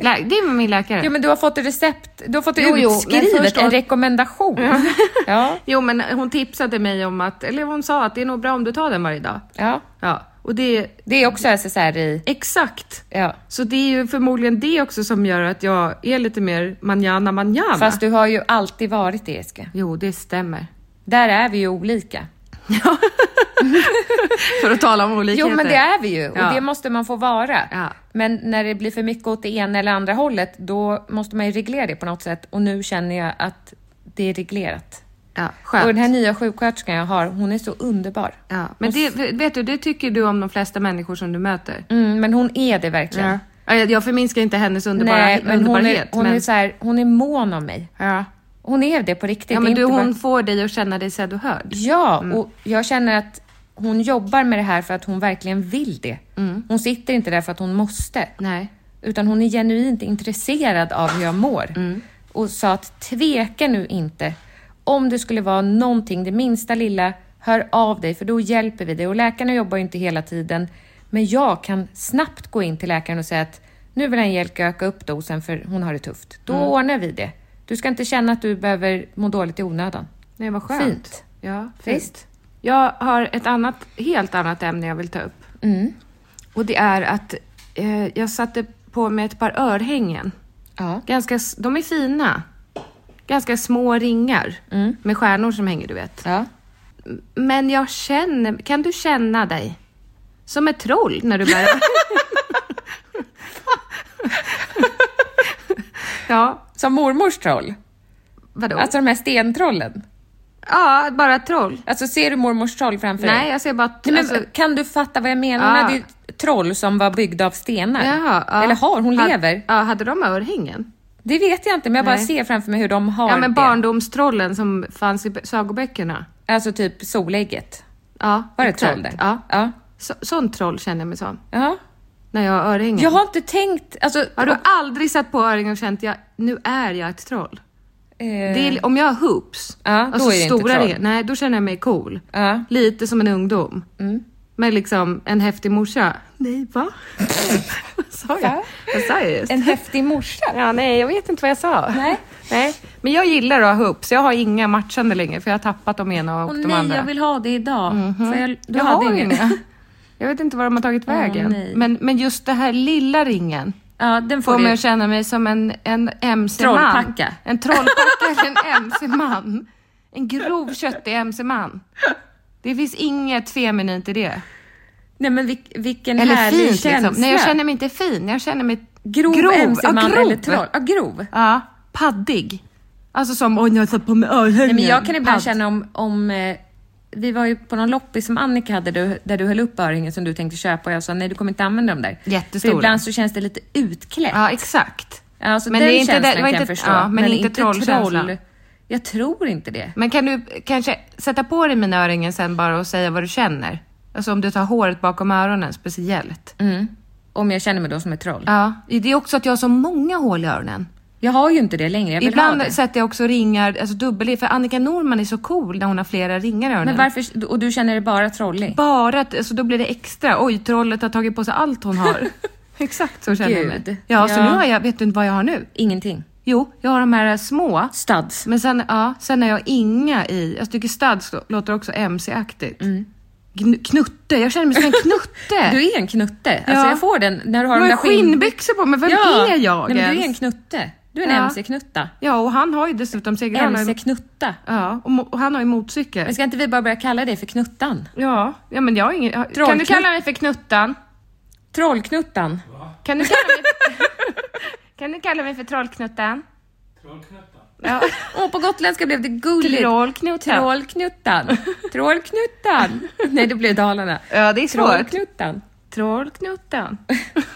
[SPEAKER 2] Lä det är min läkare.
[SPEAKER 3] Jo men du har fått ett recept, du har fått det
[SPEAKER 2] Jo, jo, men
[SPEAKER 3] utskrivet,
[SPEAKER 2] först
[SPEAKER 3] en
[SPEAKER 2] av-
[SPEAKER 3] rekommendation. Ja. ja.
[SPEAKER 2] Jo, men hon tipsade mig om att, eller hon sa att det är nog bra om du tar den varje dag. Ja, och det,
[SPEAKER 3] Det är också SSR i...
[SPEAKER 2] exakt.
[SPEAKER 3] Ja.
[SPEAKER 2] Så det är ju förmodligen det också som gör att jag är lite mer manjana manjana.
[SPEAKER 3] Fast du har ju alltid varit det Jessica.
[SPEAKER 2] Jo, det stämmer.
[SPEAKER 3] Där är vi ju olika.
[SPEAKER 2] För att tala om olikheter.
[SPEAKER 3] Jo men det är vi ju och
[SPEAKER 2] Ja.
[SPEAKER 3] det måste man få vara.
[SPEAKER 2] Ja.
[SPEAKER 3] Men när det blir för mycket åt det ena eller andra hållet då måste man ju reglera det på något sätt och nu känner jag att det är reglerat.
[SPEAKER 2] Ja, skönt.
[SPEAKER 3] Och den här nya sjuksköterskan jag har, hon är så underbar.
[SPEAKER 2] ja. Men det, vet du, det tycker du om de flesta människor som du möter.
[SPEAKER 3] Mm, men hon är det verkligen.
[SPEAKER 2] Ja. Ja, Jag jag förminskar inte hennes underbara,
[SPEAKER 3] Nej, men hon är,
[SPEAKER 2] underbarhet.
[SPEAKER 3] hon,
[SPEAKER 2] men...
[SPEAKER 3] Är så här, hon är mån om mig.
[SPEAKER 2] Ja.
[SPEAKER 3] Hon är det på riktigt.
[SPEAKER 2] Ja,
[SPEAKER 3] Det är
[SPEAKER 2] men du,
[SPEAKER 3] inte bara-
[SPEAKER 2] hon får dig att känna dig sedd och hörd.
[SPEAKER 3] Ja, och jag känner att hon jobbar med det här för att hon verkligen vill det. Hon sitter inte där för att hon måste.
[SPEAKER 2] Nej.
[SPEAKER 3] Utan hon är genuint intresserad av hur jag mår. Och sa att tveka nu inte. Om det skulle vara någonting, det minsta lilla, hör av dig för då hjälper vi dig. Och läkarna jobbar ju inte hela tiden. Men jag kan snabbt gå in till läkaren och säga att nu vill Angelica öka upp dosen för hon har det tufft. Då ordnar vi det. Du ska inte känna att du behöver må dåligt i onödan.
[SPEAKER 2] Nej, vad skönt.
[SPEAKER 3] Fint.
[SPEAKER 2] Ja, fint.
[SPEAKER 3] Visst?
[SPEAKER 2] Jag har ett annat, helt annat ämne jag vill ta upp.
[SPEAKER 3] Mm.
[SPEAKER 2] Och det är att eh, jag satte på mig ett par örhängen.
[SPEAKER 3] Ja.
[SPEAKER 2] Ganska, s- de är fina. Ganska små ringar
[SPEAKER 3] Mm.
[SPEAKER 2] med stjärnor som hänger, du vet.
[SPEAKER 3] Ja.
[SPEAKER 2] Men jag känner, kan du känna dig som ett troll när du bär Ja,
[SPEAKER 3] Som mormors troll?
[SPEAKER 2] vadå?
[SPEAKER 3] Alltså de här stentrollen?
[SPEAKER 2] ja, bara troll.
[SPEAKER 3] Alltså ser du mormors troll framför dig?
[SPEAKER 2] Nej, jag ser bara...
[SPEAKER 3] Nej, men,
[SPEAKER 2] alltså-
[SPEAKER 3] kan du fatta vad jag menar? Hon
[SPEAKER 2] Ja.
[SPEAKER 3] hade ju troll som var byggda av stenar.
[SPEAKER 2] Jaha, ja.
[SPEAKER 3] Eller har, hon
[SPEAKER 2] Had-
[SPEAKER 3] lever.
[SPEAKER 2] Ja, hade de örhängen?
[SPEAKER 3] Det vet jag inte, men jag bara
[SPEAKER 2] Nej.
[SPEAKER 3] ser framför mig hur de har
[SPEAKER 2] Ja, men
[SPEAKER 3] det.
[SPEAKER 2] barndomstrollen som fanns i bö- sagoböckerna.
[SPEAKER 3] Alltså typ solägget.
[SPEAKER 2] Ja,
[SPEAKER 3] Var det
[SPEAKER 2] exakt.
[SPEAKER 3] troll där?
[SPEAKER 2] Ja.
[SPEAKER 3] ja.
[SPEAKER 2] Så, sån troll känner jag mig som.
[SPEAKER 3] Ja.
[SPEAKER 2] När jag har örhängen.
[SPEAKER 3] Jag har inte tänkt... Alltså,
[SPEAKER 2] Har du aldrig satt på örhängen och känt att nu är jag ett troll?
[SPEAKER 3] eh,
[SPEAKER 2] Det är, om jag har hoops,
[SPEAKER 3] Ja, då är det inte troll.
[SPEAKER 2] ringar, nej då känner jag mig cool.
[SPEAKER 3] Ja. Mm.
[SPEAKER 2] Lite som en ungdom. Men liksom en häftig morsa. Nej, va? vad sa jag?
[SPEAKER 3] Va?
[SPEAKER 2] Vad sa jag just?
[SPEAKER 3] En häftig morsa.
[SPEAKER 2] Ja, nej, jag vet inte vad jag sa.
[SPEAKER 3] Nej.
[SPEAKER 2] nej. Men jag gillar att ha hoops. Jag har inga matchande längre för jag har tappat de ena och
[SPEAKER 3] Åh
[SPEAKER 2] de
[SPEAKER 3] nej,
[SPEAKER 2] andra. Mhm.
[SPEAKER 3] jag vill ha det idag. För jag, du
[SPEAKER 2] jag
[SPEAKER 3] hade
[SPEAKER 2] har
[SPEAKER 3] ingen.
[SPEAKER 2] inga. Jag vet inte var de har tagit vägen.
[SPEAKER 3] nej.
[SPEAKER 2] men, men just det här lilla ringen
[SPEAKER 3] Ja, den får
[SPEAKER 2] får mig
[SPEAKER 3] du.
[SPEAKER 2] att känna mig som en, en MC-man.
[SPEAKER 3] Trollpacka.
[SPEAKER 2] En trollpacka eller en MC-man. En grov, köttig MC-man. Det finns inget feminint i det.
[SPEAKER 3] Nej, men vil, vilken
[SPEAKER 2] Eller
[SPEAKER 3] härlig
[SPEAKER 2] fint
[SPEAKER 3] känsla.
[SPEAKER 2] liksom. Nej, jag känner mig inte fin. Jag känner mig
[SPEAKER 3] Grov, MC-man
[SPEAKER 2] Ja, grov.
[SPEAKER 3] eller troll. Ja, grov.
[SPEAKER 2] Ja, paddig. Alltså som, oj, jag har satt på mig örhängen.
[SPEAKER 3] Nej, men jag kan ibland
[SPEAKER 2] Padd.
[SPEAKER 3] känna om, om eh, vi var ju på någon loppis som Annika hade du, där du höll upp öringen som du tänkte köpa och jag sa nej du kommer inte använda dem där.
[SPEAKER 2] Jättestora.
[SPEAKER 3] För ibland så känns det lite utklätt.
[SPEAKER 2] Ja, exakt.
[SPEAKER 3] Alltså,
[SPEAKER 2] Men
[SPEAKER 3] den
[SPEAKER 2] det är inte
[SPEAKER 3] känslan
[SPEAKER 2] det- det var
[SPEAKER 3] kan jag
[SPEAKER 2] inte-
[SPEAKER 3] förstå.
[SPEAKER 2] ja, men inte trollkänslan.
[SPEAKER 3] Jag tror inte det.
[SPEAKER 2] Men kan du kanske sätta på dig mina örhängen sen bara och säga vad du känner? Alltså om du tar håret bakom öronen speciellt.
[SPEAKER 3] Mm. Om jag känner mig då som ett troll.
[SPEAKER 2] Ja, det är också att jag har så många hål i öronen.
[SPEAKER 3] Jag har ju inte det längre. Jag vill ha
[SPEAKER 2] Ibland
[SPEAKER 3] det.
[SPEAKER 2] alltså,
[SPEAKER 3] Men varför, och du känner dig bara trollig?
[SPEAKER 2] Bara att, alltså då blir det extra. Oj, trollet har tagit på sig allt hon har. Exakt så känner jag
[SPEAKER 3] Gud.
[SPEAKER 2] mig. Ja, så
[SPEAKER 3] Ja.
[SPEAKER 2] nu har jag, vet du inte vad jag har nu?
[SPEAKER 3] Ingenting.
[SPEAKER 2] Jo, jag har de här små.
[SPEAKER 3] Studs.
[SPEAKER 2] Men sen, ja, sen har jag inga i, jag tycker studs låter också mc-aktigt. Gn- Knutte, jag känner mig som en knutte.
[SPEAKER 3] Mm. Du är en knutte. Alltså
[SPEAKER 2] Äh. Ja.
[SPEAKER 3] jag får den när du har
[SPEAKER 2] jag
[SPEAKER 3] de
[SPEAKER 2] har
[SPEAKER 3] där skinn...
[SPEAKER 2] skinnbyxor på mig, vem är jag
[SPEAKER 3] Nej, men du är en
[SPEAKER 2] ens?
[SPEAKER 3] knutte. Du Du är en
[SPEAKER 2] Ja.
[SPEAKER 3] mc-knutta.
[SPEAKER 2] Ja, och han har ju dessutom segrarna.
[SPEAKER 3] Mc-knutta.
[SPEAKER 2] Ja, och, mo- och han har ju
[SPEAKER 3] Men
[SPEAKER 2] motorcykel.
[SPEAKER 3] ska inte vi bara börja kalla dig för Knuttan?
[SPEAKER 2] Ja, ja men jag har ingen... Kan du
[SPEAKER 3] Trollknutt.
[SPEAKER 2] kalla mig för Knuttan?
[SPEAKER 3] Trollknuttan.
[SPEAKER 2] Kan du kalla mig för... kan du kalla mig för Trollknuttan?
[SPEAKER 5] Trollknuttan.
[SPEAKER 2] Ja.
[SPEAKER 3] Åh, på gotländska blev det gulligt.
[SPEAKER 2] Trollknuttan.
[SPEAKER 3] Trollknuttan. Trollknuttan. Nej, det blev Dalarna.
[SPEAKER 2] Ja, det är svårt.
[SPEAKER 3] Trollknuttan.
[SPEAKER 2] Trollknuttan.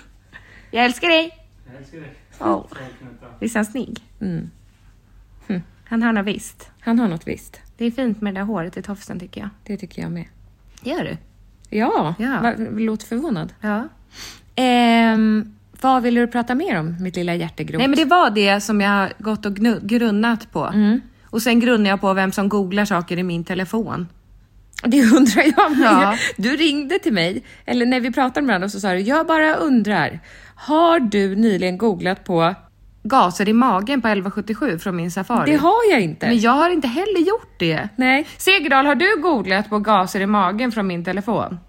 [SPEAKER 2] jag älskar dig.
[SPEAKER 5] Jag älskar dig.
[SPEAKER 2] Oh.
[SPEAKER 5] Trollknuttan.
[SPEAKER 2] Visst är han snygg? Hm. Han har något visst.
[SPEAKER 3] Han har något visst.
[SPEAKER 2] Det är fint med det där håret i tofsen tycker jag.
[SPEAKER 3] Det tycker jag med.
[SPEAKER 2] Gör du?
[SPEAKER 3] Ja,
[SPEAKER 2] Ja.
[SPEAKER 3] Va, låt förvånad.
[SPEAKER 2] Ja.
[SPEAKER 3] Ehm, vad ville du prata mer om, mitt lilla hjärtegrot?
[SPEAKER 2] Nej men det var det som jag har gått och gnu- grunnat på. Och sen grunnar jag på vem som googlar saker i min telefon.
[SPEAKER 3] Det undrar jag med.
[SPEAKER 2] Ja.
[SPEAKER 3] Du ringde till mig, eller när vi pratade med varandra, så sa du “Jag bara undrar, har du nyligen googlat på...”
[SPEAKER 2] Gaser i magen på 1177 från min Safari.
[SPEAKER 3] Det har jag inte.
[SPEAKER 2] Men jag har inte heller gjort det.
[SPEAKER 3] Nej.
[SPEAKER 2] Segerdal, har du googlat på gaser i magen från min telefon?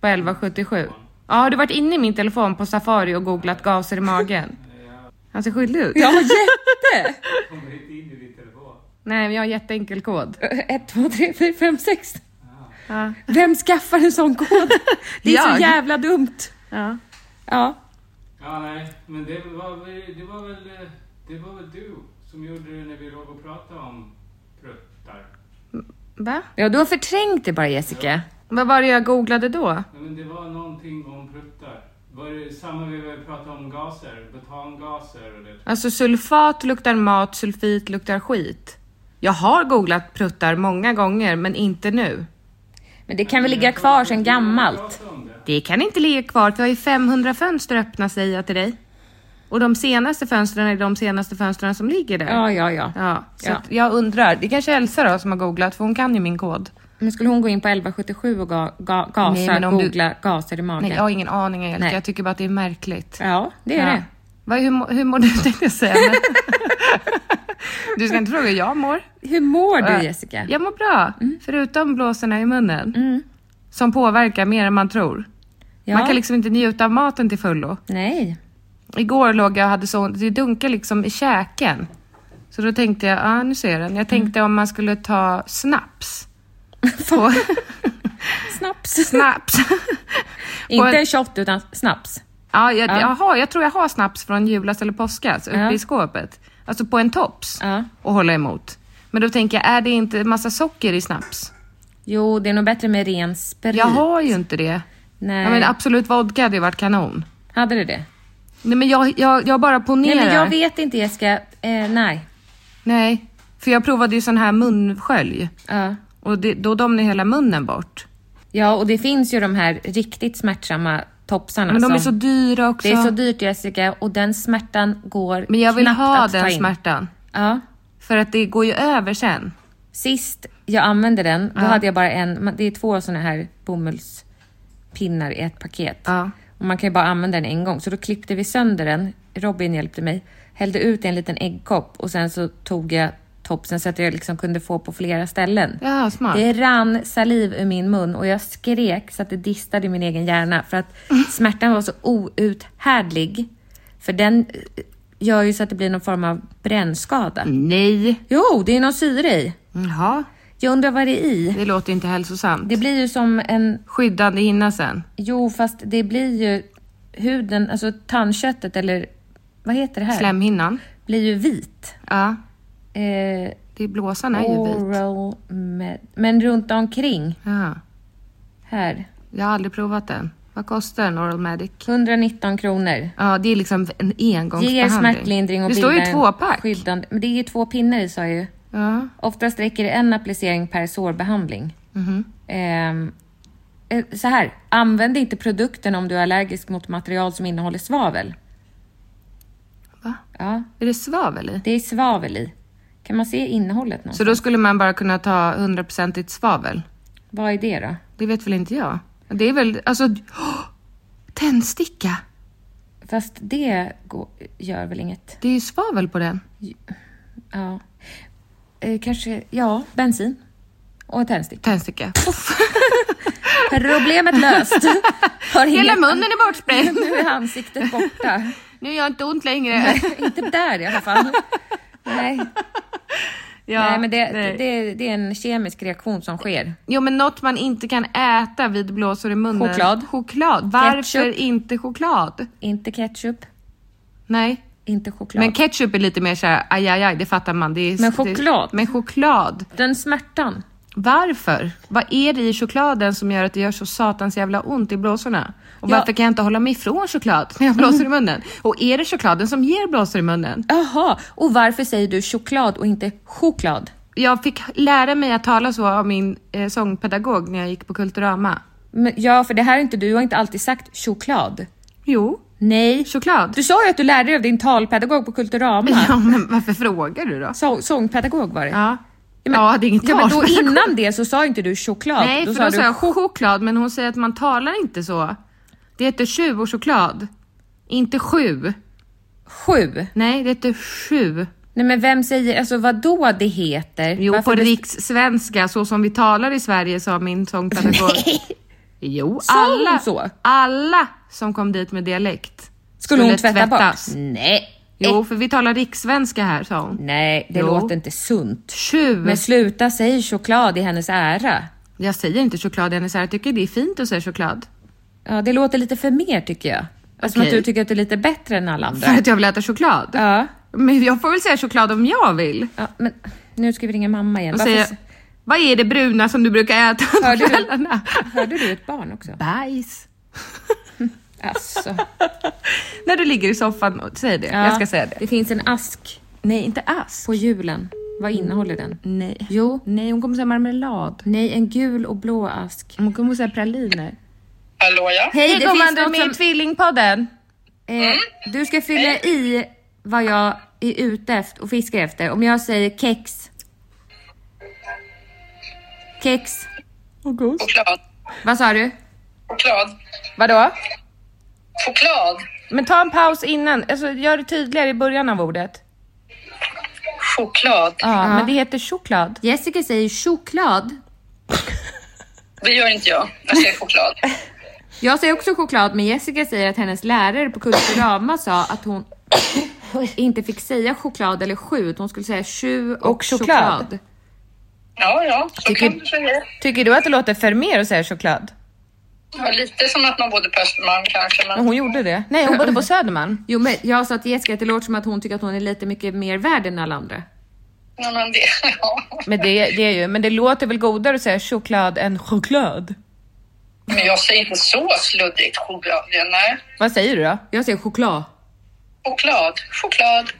[SPEAKER 2] På 1177? Ja, har du varit inne i min telefon på Safari och googlat gaser i magen? Han ser skyldig ut.
[SPEAKER 3] Ja, jätte!
[SPEAKER 5] Kommer inte in i din telefon.
[SPEAKER 2] Nej, men jag har jätteenkel kod.
[SPEAKER 3] Ett, två, tre, fyra, fem, sex. Vem skaffar en sån kod? Det är
[SPEAKER 2] Jag.
[SPEAKER 3] så jävla dumt.
[SPEAKER 2] Ja.
[SPEAKER 3] Ja.
[SPEAKER 5] Ja, nej, men det var, väl- det, var väl, eh, det var väl du som gjorde det när vi låg och pratade om pruttar.
[SPEAKER 2] Va?
[SPEAKER 3] ja, du har förträngt det bara Jessica.
[SPEAKER 2] Vad var det jag googlade då?
[SPEAKER 5] Nej, men det var någonting om pruttar. Var det samma vi började prata om gaser? Butangaser och det.
[SPEAKER 2] Alltså sulfat luktar mat, sulfit luktar skit. Jag har googlat pruttar många gånger, men inte nu.
[SPEAKER 3] Men det kan väl ligga kvar sedan gammalt?
[SPEAKER 5] Prata om det.
[SPEAKER 2] Det kan inte ligga kvar, för jag har ju 500 fönster öppna säger jag till dig. Och de senaste fönstren är de senaste fönstren som ligger där.
[SPEAKER 3] Ja, ja, ja.
[SPEAKER 2] Ja, så
[SPEAKER 3] Ja.
[SPEAKER 2] Att jag undrar. Det kanske är Elsa då som har googlat, för hon kan ju min kod.
[SPEAKER 3] Men skulle hon gå in på 1177 och ga, ga,
[SPEAKER 2] Nej,
[SPEAKER 3] gasa,
[SPEAKER 2] men om du-
[SPEAKER 3] googla gaser i magen?
[SPEAKER 2] Nej, jag har ingen aning Elsa.
[SPEAKER 3] Nej.
[SPEAKER 2] Jag tycker bara att det är märkligt.
[SPEAKER 3] Ja, det är
[SPEAKER 2] Ja.
[SPEAKER 3] det.
[SPEAKER 2] Vad, hur, mår- hur mår du tänkte jag säga. men- du ska inte fråga hur jag mår.
[SPEAKER 3] Hur mår
[SPEAKER 2] Ja.
[SPEAKER 3] du Jessica?
[SPEAKER 2] Äh,
[SPEAKER 3] Mm.
[SPEAKER 2] Jag mår bra, förutom blåsorna i munnen. Som påverkar mer än man tror.
[SPEAKER 3] Ja.
[SPEAKER 2] Man kan liksom inte njuta av maten till fullo.
[SPEAKER 3] Nej.
[SPEAKER 2] Igår låg jag och hade så det dunkade liksom i käken. Så då tänkte jag, ja ah, nu ser jag den. Jag
[SPEAKER 3] Mm.
[SPEAKER 2] tänkte om man skulle ta snaps. På,
[SPEAKER 3] Snaps.
[SPEAKER 2] snaps.
[SPEAKER 3] Inte
[SPEAKER 2] en-
[SPEAKER 3] en shot utan snaps.
[SPEAKER 2] ja, jag, jag, har, jag tror jag har snaps från julas eller påskas uppe
[SPEAKER 3] Ja.
[SPEAKER 2] i skåpet. Alltså på en tops
[SPEAKER 3] Ja.
[SPEAKER 2] och hålla emot. Men då tänker jag, är det inte massa socker i snaps?
[SPEAKER 3] Jo, det är nog bättre med ren sprit.
[SPEAKER 2] Jag har ju inte det.
[SPEAKER 3] Nej.
[SPEAKER 2] Ja, men absolut vodka hade ju varit kanon.
[SPEAKER 3] Hade du det?
[SPEAKER 2] Nej men jag, jag, jag bara ponerar.
[SPEAKER 3] Nej, men jag vet inte Jessica. Eh, nej.
[SPEAKER 2] Nej, för jag provade ju sån här munskölj.
[SPEAKER 3] Ja.
[SPEAKER 2] Och det, då domnar hela munnen bort.
[SPEAKER 3] Mm, Ja, och det finns ju de här riktigt smärtsamma topsarna.
[SPEAKER 2] Men de är så
[SPEAKER 3] som-
[SPEAKER 2] dyra också.
[SPEAKER 3] alltså, Det är så dyrt Jessica och den smärtan går
[SPEAKER 2] Men jag vill
[SPEAKER 3] knappt
[SPEAKER 2] ha
[SPEAKER 3] att ta
[SPEAKER 2] den
[SPEAKER 3] in.
[SPEAKER 2] smärtan.
[SPEAKER 3] Ja.
[SPEAKER 2] För att det går ju över sen.
[SPEAKER 3] Sist jag använde den, då hade jag bara en. man- Det är två såna här bomullspinnar i ett paket.
[SPEAKER 2] Ja.
[SPEAKER 3] Och man kan ju bara använda den en gång. Så då klippte vi sönder den. Robin hjälpte mig. Hällde ut i en liten äggkopp och sen så tog jag topsen så att jag liksom kunde få på flera ställen.
[SPEAKER 2] Ja, smart.
[SPEAKER 3] Det rann saliv ur min mun och jag skrek så att det distade i min egen hjärna för att smärtan var så outhärdlig. För den eh, gör ju så att det blir någon form av brännskada.
[SPEAKER 2] Mm. Nej.
[SPEAKER 3] Jo, det är någon syre i.
[SPEAKER 2] Jaha,
[SPEAKER 3] Jag undrar vad det är i.
[SPEAKER 2] det låter inte hälsosamt.
[SPEAKER 3] Det blir ju som en...
[SPEAKER 2] Skyddande hinna sen.
[SPEAKER 3] Jo, fast det blir ju huden, alltså tandköttet eller vad heter det här?
[SPEAKER 2] Slemhinnan.
[SPEAKER 3] Blir ju vit.
[SPEAKER 2] Ja,
[SPEAKER 3] Eh,
[SPEAKER 2] det blåsan är ju vit.
[SPEAKER 3] oral med, Men runt omkring
[SPEAKER 2] Ja.
[SPEAKER 3] här.
[SPEAKER 2] Jag har aldrig provat den. Vad kostar en Oral Medic?
[SPEAKER 3] 119 kronor.
[SPEAKER 2] Ja, det är liksom en engångsbehandling.
[SPEAKER 3] Ger smärtlindring och
[SPEAKER 2] Det står ju
[SPEAKER 3] bildar en
[SPEAKER 2] tvåpack.
[SPEAKER 3] Skyddande. Men det är ju två pinnar i sa jag ju.
[SPEAKER 2] Ja.
[SPEAKER 3] Oftast räcker det en applicering per sårbehandling.
[SPEAKER 2] Mhm.
[SPEAKER 3] Ehm, eh, så här, använd inte produkten om du är allergisk mot material som innehåller svavel.
[SPEAKER 2] Va?
[SPEAKER 3] Ja,
[SPEAKER 2] Är det svavel i?
[SPEAKER 3] det är svavel i. Kan man se innehållet någonstans?
[SPEAKER 2] Så då skulle man bara kunna ta 100% svavel?
[SPEAKER 3] Vad är det då?
[SPEAKER 2] Det vet väl inte jag? Det är väl, alltså... åh! tändsticka!
[SPEAKER 3] Fast det går, gör väl inget?
[SPEAKER 2] Det är ju svavel på den.
[SPEAKER 3] Ja. Eh, kanske, ja, bensin. Och en tändstick.
[SPEAKER 2] Tändsticka. Puff.
[SPEAKER 3] Problemet löst. Har
[SPEAKER 2] Hela
[SPEAKER 3] inget-
[SPEAKER 2] munnen är bortsprängd!
[SPEAKER 3] Nu är ansiktet borta.
[SPEAKER 2] nu gör jag inte ont längre.
[SPEAKER 3] Inte där i alla fall. Nej,
[SPEAKER 2] Ja,
[SPEAKER 3] nej men det,
[SPEAKER 2] nej.
[SPEAKER 3] Det, det är en kemisk reaktion som sker.
[SPEAKER 2] Jo men något man inte kan äta vid blåsor i munnen.
[SPEAKER 3] Choklad.
[SPEAKER 2] Choklad. Varför
[SPEAKER 3] Ketchup.
[SPEAKER 2] inte choklad?
[SPEAKER 3] Inte ketchup,
[SPEAKER 2] Nej.
[SPEAKER 3] inte choklad.
[SPEAKER 2] Men ketchup är lite mer såhär, aj, aj, aj, det fattar man. Det är,
[SPEAKER 3] Men choklad?
[SPEAKER 2] Det, men choklad.
[SPEAKER 3] Den smärtan.
[SPEAKER 2] Varför? Vad är det i chokladen som gör att det gör så satans jävla ont i blåsorna? Och
[SPEAKER 3] Ja.
[SPEAKER 2] varför kan jag inte hålla mig ifrån choklad när jag blåser i munnen? Och är det chokladen som ger blåsor i munnen?
[SPEAKER 3] Jaha, och varför säger du choklad och inte choklad?
[SPEAKER 2] Jag fick lära mig att tala så av min eh, sångpedagog när jag gick på Kulturama.
[SPEAKER 3] Men, ja, för det här är inte du, har inte alltid sagt choklad.
[SPEAKER 2] Jo,
[SPEAKER 3] Nej.
[SPEAKER 2] choklad.
[SPEAKER 3] Du sa ju att du lärde dig av din talpedagog på Kulturama.
[SPEAKER 2] Ja, men varför frågar du då?
[SPEAKER 3] Så, sångpedagog var det.
[SPEAKER 2] Ja,
[SPEAKER 3] Ja, men-
[SPEAKER 2] ja det är inget
[SPEAKER 3] ja, men då
[SPEAKER 2] tal.
[SPEAKER 3] innan det så sa inte du choklad.
[SPEAKER 2] Nej, för då sa jag choklad, men hon säger att man talar inte så. Det heter sju och choklad. Inte sju.
[SPEAKER 3] sju.
[SPEAKER 2] Nej, det heter sju.
[SPEAKER 3] Nej men vem säger, alltså vad då det heter?
[SPEAKER 2] Jo,
[SPEAKER 3] Varför
[SPEAKER 2] på
[SPEAKER 3] bes-
[SPEAKER 2] rikssvenska, så som vi talar i Sverige, sa min sångpedagog. jo,
[SPEAKER 3] Sa hon
[SPEAKER 2] alla,
[SPEAKER 3] så?
[SPEAKER 2] alla som kom dit med dialekt
[SPEAKER 3] Skulle hon tvätta
[SPEAKER 2] tvättas.
[SPEAKER 3] bort? Nej.
[SPEAKER 2] Jo, för vi talar rikssvenska här, sa hon.
[SPEAKER 3] Nej, det
[SPEAKER 2] Jo.
[SPEAKER 3] låter inte sunt.
[SPEAKER 2] Sju.
[SPEAKER 3] Men sluta säga choklad i hennes ära.
[SPEAKER 2] Jag säger inte choklad, Jenny, så här, jag tycker det är fint att säga choklad.
[SPEAKER 3] Ja, det låter lite för mer tycker jag. Som att
[SPEAKER 2] Okej.
[SPEAKER 3] du tycker att du är lite bättre än alla andra.
[SPEAKER 2] För att jag vill äta choklad.
[SPEAKER 3] Ja.
[SPEAKER 2] Men jag får väl säga choklad om jag vill.
[SPEAKER 3] ja, men nu ska vi ringa mamma igen.
[SPEAKER 2] Och
[SPEAKER 3] Varför...
[SPEAKER 2] säga, vad är det bruna som du brukar äta på
[SPEAKER 3] Hörde du?
[SPEAKER 2] kvällarna?
[SPEAKER 3] Hörde du ett barn också?
[SPEAKER 2] Bajs.
[SPEAKER 3] Alltså.
[SPEAKER 2] När du ligger i soffan, och- säg det. Jag ska säga det.
[SPEAKER 3] Det finns en ask
[SPEAKER 2] Nej, inte ask.
[SPEAKER 3] på julen. Vad innehåller den?
[SPEAKER 2] Nej.
[SPEAKER 3] Jo.
[SPEAKER 2] Nej, hon kommer säga marmelad.
[SPEAKER 3] Nej, en gul och blå ask.
[SPEAKER 2] Hon kommer säga praliner.
[SPEAKER 4] Hallå ja.
[SPEAKER 3] Hej,
[SPEAKER 2] Hej
[SPEAKER 3] det
[SPEAKER 2] gumman,
[SPEAKER 3] finns
[SPEAKER 2] du är
[SPEAKER 3] något
[SPEAKER 2] med
[SPEAKER 3] som...
[SPEAKER 2] i Tvillingpodden.
[SPEAKER 3] Eh, du ska fylla i vad jag är ute efter och fiskar efter. Om jag säger kex. Kex.
[SPEAKER 4] Choklad.
[SPEAKER 2] Vad sa du?
[SPEAKER 4] Choklad.
[SPEAKER 2] Vadå?
[SPEAKER 4] Choklad.
[SPEAKER 2] Men ta en paus innan. Alltså, gör det tydligare i början av ordet.
[SPEAKER 4] Choklad.
[SPEAKER 2] Ja, men det heter choklad.
[SPEAKER 3] Jessica säger choklad.
[SPEAKER 4] Det gör inte jag. Jag säger choklad.
[SPEAKER 3] Jag säger också choklad, men Jessica säger att hennes lärare på Kulturama sa att hon inte fick säga choklad eller sju, utan hon skulle säga sju och,
[SPEAKER 2] Och choklad.
[SPEAKER 3] choklad.
[SPEAKER 4] Ja, ja. Så
[SPEAKER 2] Tycker-
[SPEAKER 3] typ-
[SPEAKER 4] kan du säga.
[SPEAKER 2] Tycker du att det låter för mer att säga choklad?
[SPEAKER 4] Ja, lite som att man bodde på Östermalm kanske, men
[SPEAKER 2] Hon gjorde det. Nej, hon bodde på Södermalm.
[SPEAKER 3] Jo, men jag sa till Jessica att det låter som att hon tycker att hon är lite mycket mer värd än alla andra.
[SPEAKER 4] Nej, men det... Ja.
[SPEAKER 2] Men det, det är ju, men det låter väl godare att säga choklad än choklad?
[SPEAKER 4] Men jag säger inte så sluddigt choklad. Nej.
[SPEAKER 2] Vad säger du då?
[SPEAKER 3] Jag säger choklad.
[SPEAKER 4] Choklad. Choklad.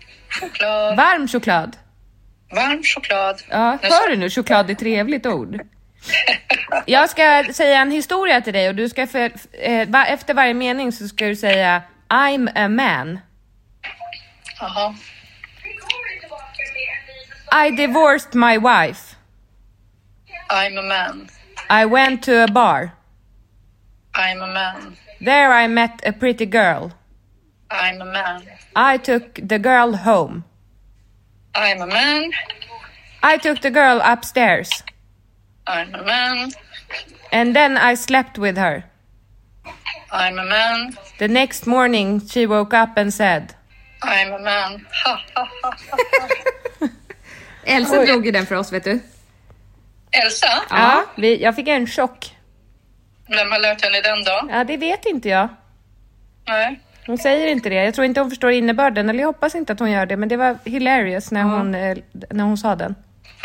[SPEAKER 4] Choklad.
[SPEAKER 2] Varm choklad?
[SPEAKER 4] Varm choklad.
[SPEAKER 2] Ja, hör du nu? Choklad är ett trevligt ord. Jag ska säga en historia till dig och du ska för, eh, va, efter varje mening så ska du säga I'm a man.
[SPEAKER 4] Jaha.
[SPEAKER 2] I divorced my wife.
[SPEAKER 4] I'm a man.
[SPEAKER 2] I went to a bar.
[SPEAKER 4] I'm a man.
[SPEAKER 2] There I met a pretty girl.
[SPEAKER 4] I'm a man.
[SPEAKER 2] I took the girl home.
[SPEAKER 4] I'm a man.
[SPEAKER 2] I took the girl upstairs.
[SPEAKER 4] I'm a man.
[SPEAKER 2] And then I slept with her.
[SPEAKER 4] I'm a man.
[SPEAKER 2] The next morning she woke up and said
[SPEAKER 4] I'm a man. Ha, ha, ha.
[SPEAKER 3] Elsa drog ju den för oss, vet du.
[SPEAKER 4] Elsa,
[SPEAKER 2] Ja, vi, jag fick en chock.
[SPEAKER 4] vem har lärt henne den då?
[SPEAKER 2] Ja, det vet inte jag.
[SPEAKER 4] Nej.
[SPEAKER 2] Hon säger inte det. Jag tror inte hon förstår innebörden, eller jag hoppas inte att hon gör det, men det var hilarious när, hon, eh, när hon sa den.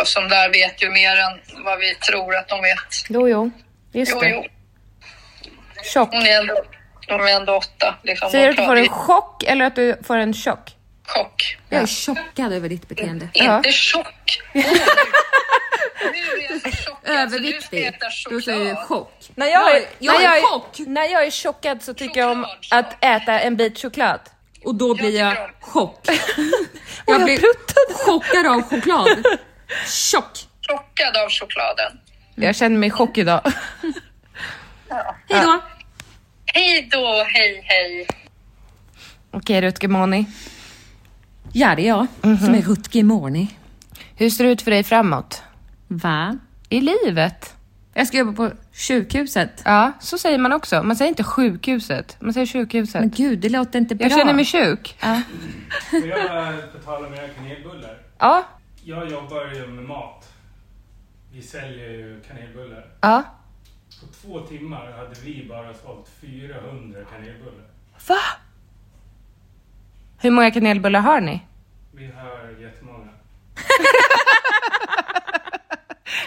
[SPEAKER 4] Och som där vet ju mer än vad vi tror att de vet.
[SPEAKER 2] Jo, jo. Just
[SPEAKER 4] Jo,
[SPEAKER 2] det.
[SPEAKER 4] jo.
[SPEAKER 2] Chock.
[SPEAKER 4] Hon är ändå, de är ändå åtta. Liksom.
[SPEAKER 2] Säger du
[SPEAKER 4] Hon
[SPEAKER 2] att du får
[SPEAKER 4] pratar-
[SPEAKER 2] en chock eller att du får en chock?
[SPEAKER 4] chock?
[SPEAKER 3] Jag är chockad över ditt beteende.
[SPEAKER 4] Inte chock. Åh, nu- nu är jag chockad. Så Alltså, du ska
[SPEAKER 3] Överviktig.
[SPEAKER 4] äta
[SPEAKER 3] Då säger du
[SPEAKER 4] choklad.
[SPEAKER 3] chock.
[SPEAKER 2] När jag, är,
[SPEAKER 3] jag
[SPEAKER 2] när,
[SPEAKER 3] är
[SPEAKER 2] jag
[SPEAKER 3] chock.
[SPEAKER 2] är, när jag är chockad så tycker jag om
[SPEAKER 4] Choklad, chock.
[SPEAKER 2] att äta en bit choklad.
[SPEAKER 3] Och då blir jag
[SPEAKER 4] tycker om-
[SPEAKER 3] chock.
[SPEAKER 2] Och jag
[SPEAKER 3] blir
[SPEAKER 2] pruttade.
[SPEAKER 3] chockad av choklad. Chock.
[SPEAKER 4] Chockad av chokladen.
[SPEAKER 2] Jag känner mig i chock idag.
[SPEAKER 3] Hej då.
[SPEAKER 4] Hej då, hej, hej.
[SPEAKER 2] Okej, Rutger Moni.
[SPEAKER 3] Ja, det är jag
[SPEAKER 2] Mhm.
[SPEAKER 3] som är Rutger Morni.
[SPEAKER 2] Hur ser det ut för dig framåt?
[SPEAKER 3] Va?
[SPEAKER 2] I livet?
[SPEAKER 3] Jag ska jobba på Sjukhuset.
[SPEAKER 2] Ja, så säger man också. Man säger inte sjukhuset, man säger sjukhuset.
[SPEAKER 3] Men gud, det låter inte bra.
[SPEAKER 2] jag känner mig sjuk.
[SPEAKER 5] Får jag bara på tal om era kanelbullar?
[SPEAKER 2] Ja,
[SPEAKER 5] Jag jobbar ju med mat. Vi säljer ju kanelbullar.
[SPEAKER 2] ja.
[SPEAKER 5] På två timmar hade vi bara sålt 400 kanelbullar.
[SPEAKER 2] Va? Hur många kanelbullar har ni?
[SPEAKER 5] Vi har jättemånga.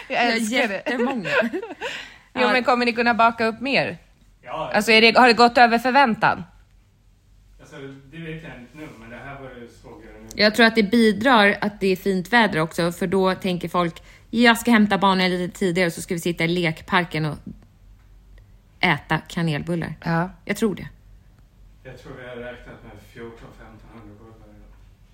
[SPEAKER 2] Jag älskar det.
[SPEAKER 3] Jättemånga.
[SPEAKER 2] Jo, men kommer ni kunna baka upp mer?
[SPEAKER 5] Ja,
[SPEAKER 2] Alltså, är det, har det gått över förväntan?
[SPEAKER 5] alltså, det vet jag inte nu, men det här var det såg jag nu.
[SPEAKER 3] Jag tror att det bidrar att det är fint väder också, för då tänker folk, jag ska hämta barnen lite tidigare så ska vi sitta i lekparken och äta kanelbullar.
[SPEAKER 2] Ja.
[SPEAKER 3] Jag tror det.
[SPEAKER 5] Jag tror vi har räknat med 14-1500 bullar idag.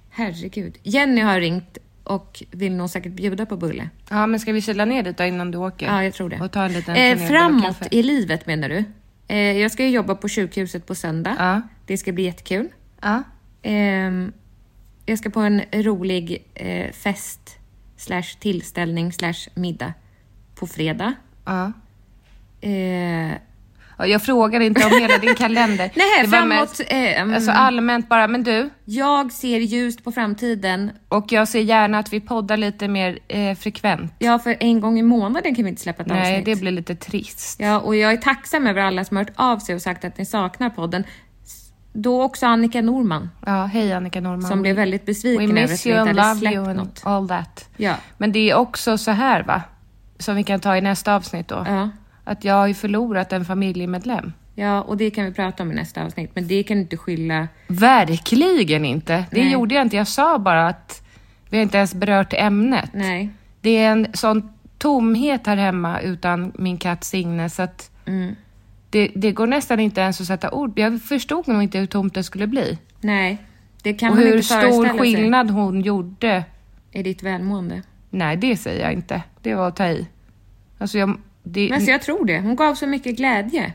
[SPEAKER 3] Herregud. Jenny har ringt och vill nog säkert bjuda på bulle.
[SPEAKER 2] Ja, men ska vi kyla ner dit då innan du åker?
[SPEAKER 3] Ja, jag tror det.
[SPEAKER 2] Och ta en liten
[SPEAKER 3] eh,
[SPEAKER 2] kanelbulle
[SPEAKER 3] framåt
[SPEAKER 2] kaffe.
[SPEAKER 3] i livet menar du? Eh, jag ska ju jobba på sjukhuset på söndag.
[SPEAKER 2] Ja.
[SPEAKER 3] Det ska bli jättekul.
[SPEAKER 2] Ja.
[SPEAKER 3] Ehm, jag ska på en rolig eh, fest slash tillställning slash middag på fredag.
[SPEAKER 2] Ja.
[SPEAKER 3] Eh,
[SPEAKER 2] Ja, jag frågade inte om hela din kalender.
[SPEAKER 3] Nej,
[SPEAKER 2] Det var
[SPEAKER 3] framåt,
[SPEAKER 2] mest-
[SPEAKER 3] eh, mm.
[SPEAKER 2] alltså allmänt bara, men du.
[SPEAKER 3] jag ser ljust på framtiden.
[SPEAKER 2] Och jag ser gärna att vi poddar lite mer eh, frekvent.
[SPEAKER 3] Ja, för en gång i månaden kan vi inte släppa ett
[SPEAKER 2] Nej,
[SPEAKER 3] avsnitt.
[SPEAKER 2] det blir lite trist.
[SPEAKER 3] Ja, och jag är tacksam över alla som har hört av sig och sagt att ni saknar podden. S- Då också Annika Norman,
[SPEAKER 2] Ja, hej Annika Norman.
[SPEAKER 3] som blev väldigt
[SPEAKER 2] We
[SPEAKER 3] besviken över att
[SPEAKER 2] miss
[SPEAKER 3] vi
[SPEAKER 2] you
[SPEAKER 3] inte
[SPEAKER 2] and
[SPEAKER 3] hade
[SPEAKER 2] love
[SPEAKER 3] släppt
[SPEAKER 2] you and
[SPEAKER 3] något.
[SPEAKER 2] all that.
[SPEAKER 3] Ja.
[SPEAKER 2] Men det är också så här va? Som vi kan ta i nästa avsnitt då.
[SPEAKER 3] Ja.
[SPEAKER 2] Att jag har ju förlorat en familjemedlem.
[SPEAKER 3] Ja, och det kan vi prata om i nästa avsnitt, men det kan du inte skylla...
[SPEAKER 2] Verkligen inte. Det
[SPEAKER 3] Nej.
[SPEAKER 2] gjorde jag inte. Jag sa bara att vi har inte ens berört ämnet.
[SPEAKER 3] Nej.
[SPEAKER 2] Det är en sån tomhet här hemma utan min katt Signe så att
[SPEAKER 3] Mm.
[SPEAKER 2] det, det går nästan inte ens att sätta ord Jag förstod nog inte hur tomt det skulle bli.
[SPEAKER 3] Nej, det kan
[SPEAKER 2] och
[SPEAKER 3] man
[SPEAKER 2] hur
[SPEAKER 3] inte föreställa
[SPEAKER 2] stor
[SPEAKER 3] sig
[SPEAKER 2] skillnad hon gjorde.
[SPEAKER 3] i ditt välmående.
[SPEAKER 2] Nej, det säger jag inte. Det var att ta i. Alltså jag, det,
[SPEAKER 3] Men alltså, jag tror det. Hon gav så mycket glädje.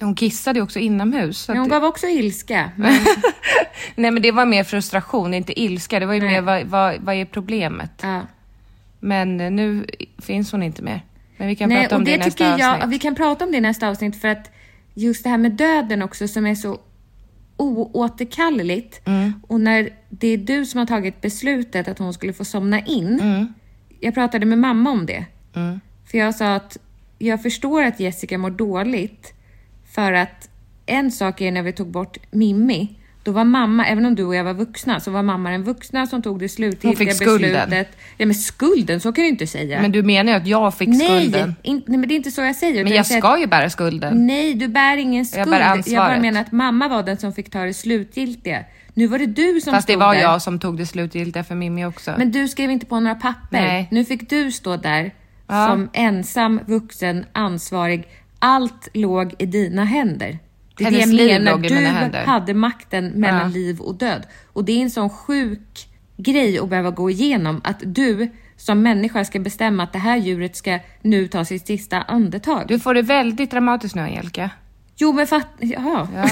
[SPEAKER 2] Hon kissade ju också inomhus. Så
[SPEAKER 3] Men
[SPEAKER 2] att
[SPEAKER 3] hon
[SPEAKER 2] det,
[SPEAKER 3] gav också ilska. Men
[SPEAKER 2] nej, men det var mer frustration, inte ilska. Det var ju
[SPEAKER 3] Nej.
[SPEAKER 2] mer vad, vad, vad är problemet?
[SPEAKER 3] Ja.
[SPEAKER 2] Men eh, nu finns hon inte mer. Men vi kan
[SPEAKER 3] Nej,
[SPEAKER 2] prata
[SPEAKER 3] och
[SPEAKER 2] om det, i
[SPEAKER 3] det
[SPEAKER 2] nästa
[SPEAKER 3] tycker jag,
[SPEAKER 2] avsnitt.
[SPEAKER 3] vi kan prata om det i nästa avsnitt för att just det här med döden också som är så oåterkalleligt
[SPEAKER 2] Mm.
[SPEAKER 3] och när det är du som har tagit beslutet att hon skulle få somna in.
[SPEAKER 2] Mm.
[SPEAKER 3] Jag pratade med mamma om det. För jag sa att jag förstår att Jessica mår dåligt för att en sak är när vi tog bort Mimmi, då var mamma, även om du och jag var vuxna, så var mamma den vuxna som tog det slutgiltiga
[SPEAKER 2] skulden.
[SPEAKER 3] beslutet. Ja, men skulden, så kan du inte säga.
[SPEAKER 2] Men du menar ju att jag fick skulden.
[SPEAKER 3] Nej, in, nej, men det är inte så jag säger.
[SPEAKER 2] Men
[SPEAKER 3] utan
[SPEAKER 2] jag
[SPEAKER 3] säger
[SPEAKER 2] ska ju bära skulden.
[SPEAKER 3] Att, nej, du bär ingen skuld.
[SPEAKER 2] Jag bär
[SPEAKER 3] jag bara
[SPEAKER 2] ansvaret.
[SPEAKER 3] menar att mamma var den som fick ta det slutgiltiga. Nu var det du som
[SPEAKER 2] Fast det
[SPEAKER 3] stod
[SPEAKER 2] var
[SPEAKER 3] där.
[SPEAKER 2] jag som tog det slutgiltiga för Mimmi också.
[SPEAKER 3] Men du skrev inte på några papper.
[SPEAKER 2] Nej.
[SPEAKER 3] Nu fick du stå där som ensam, vuxen, ansvarig. Allt låg i dina händer. Det är det
[SPEAKER 2] Hennes
[SPEAKER 3] jag
[SPEAKER 2] liv
[SPEAKER 3] menar.
[SPEAKER 2] låg i
[SPEAKER 3] Du
[SPEAKER 2] mina händer.
[SPEAKER 3] hade makten mellan
[SPEAKER 2] Ja.
[SPEAKER 3] liv och död. Och det är en sån sjuk grej att behöva gå igenom. Att du som människa ska bestämma att det här djuret ska nu ta sitt sista andetag.
[SPEAKER 2] Du får det väldigt dramatiskt nu Angelica.
[SPEAKER 3] Jo men fatt... Jaha.